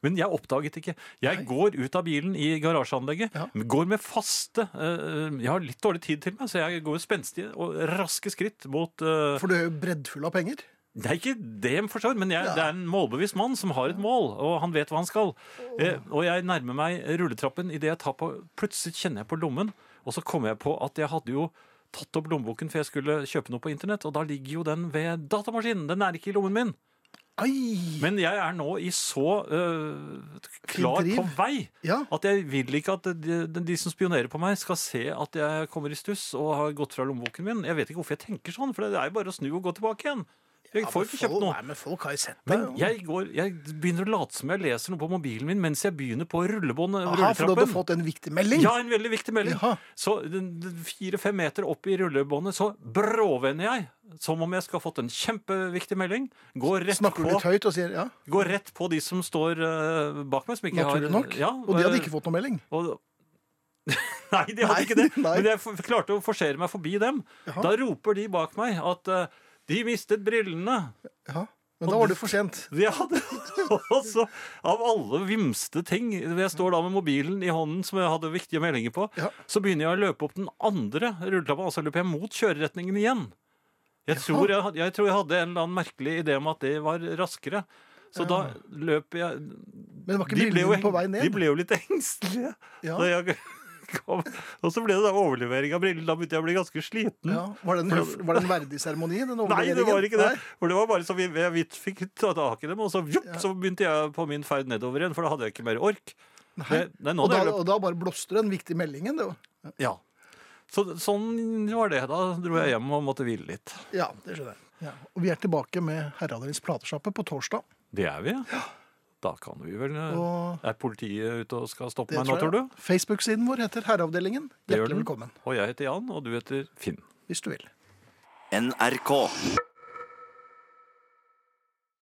S4: Men jeg oppdaget ikke. Jeg går ut av bilen i garasjeanlegget.
S3: Ja.
S4: Går med faste eh, Jeg har litt dårlig tid til meg, så jeg går spenstige og raske skritt mot eh,
S3: For du er jo breddfull av penger.
S4: Det er ikke det for så vidt, men jeg, det er en målbevisst mann som har et mål, og han vet hva han skal. Eh, og jeg nærmer meg rulletrappen idet jeg tar på Plutselig kjenner jeg på lommen, og så kommer jeg på at jeg hadde jo tatt opp lommeboken for jeg skulle kjøpe noe på internett, og da ligger jo den ved datamaskinen. Den er ikke i lommen min.
S3: Ai!
S4: Men jeg er nå i så eh, klar
S3: Driv.
S4: på vei
S3: Ja.
S4: at jeg vil ikke at de, de, de som spionerer på meg, skal se at jeg kommer i stuss og har gått fra lommeboken min. Jeg vet ikke hvorfor jeg tenker sånn, for det er jo bare å snu og gå tilbake igjen. Jeg får ikke kjøpt noe.
S3: Nei, men folk har jo sett det.
S4: Men jeg, går, jeg begynner å late som jeg leser noe på mobilen min mens jeg begynner på
S3: Aha,
S4: rullebåndet.
S3: for du hadde
S4: rulletrappen.
S3: fått en viktig melding?
S4: Ja, en veldig viktig melding.
S3: Jaha.
S4: Så fire-fem meter opp i rullebåndet, så bråvender jeg. Som om jeg skal ha fått en kjempeviktig melding. Går rett,
S3: Snakker du
S4: på,
S3: litt høyt og sier ja,
S4: går rett på de som står eh, bak meg. Som ikke
S3: naturlig
S4: har,
S3: nok?
S4: Ja, eh,
S3: og de hadde ikke fått noen melding?
S4: og, Nei, de hadde
S3: Nei,
S4: ikke det.
S3: nei.
S4: Men jeg f- klarte å forsere meg forbi dem.
S3: Jaha.
S4: Da roper de bak meg at eh, de mistet brillene.
S3: Ja. Men da var det for sent.
S4: Ja, det også av alle vimste ting. Jeg står da med mobilen i hånden som jeg hadde viktige meldinger på.
S3: Ja.
S4: Så begynner jeg å løpe opp den andre rulletrappa, altså løper jeg mot kjøreretningen igjen. Jeg tror jeg, had- jeg tror jeg hadde en eller annen merkelig idé om at det var raskere. Så da løp jeg
S3: Men det var ikke
S4: de ble, jo,
S3: brillene på vei ned?
S4: de ble jo litt engstelige.
S3: Ja.
S4: Da jeg kom. Og så ble det da overlevering av brillene. Da begynte jeg å bli ganske sliten.
S3: Ja. Var, det en, høf- var det en verdig seremoni? den
S4: Nei, det
S3: overleveringen?
S4: var ikke det.
S3: Nei.
S4: For det var bare så vi, jeg vidt fikk ta tak i dem, og så, vjupp, så begynte jeg på min ferd nedover igjen, for da hadde jeg ikke mer ork. Det, nei, nå
S3: Og, da,
S4: hadde jeg
S3: og da bare blåste den viktige meldingen. Det var.
S4: løpt. Ja. Så, sånn var det. Da dro jeg hjem og måtte hvile litt.
S3: Ja, det skjønner jeg. Ja. Og vi er tilbake med Herreavdelingens platesjappe på torsdag.
S4: Det er vi. Da kan vi vel eh,
S3: Og-
S4: Er politiet ute og skal stoppe
S3: Det
S4: meg nå, tror
S3: jeg.
S4: du?
S3: Facebook-siden vår heter Herreavdelingen.
S4: Det gjør
S3: Hjertelig
S4: den.
S3: velkommen,
S4: Og jeg heter Jan, og du heter Finn.
S3: hvis du vil.
S7: NRK.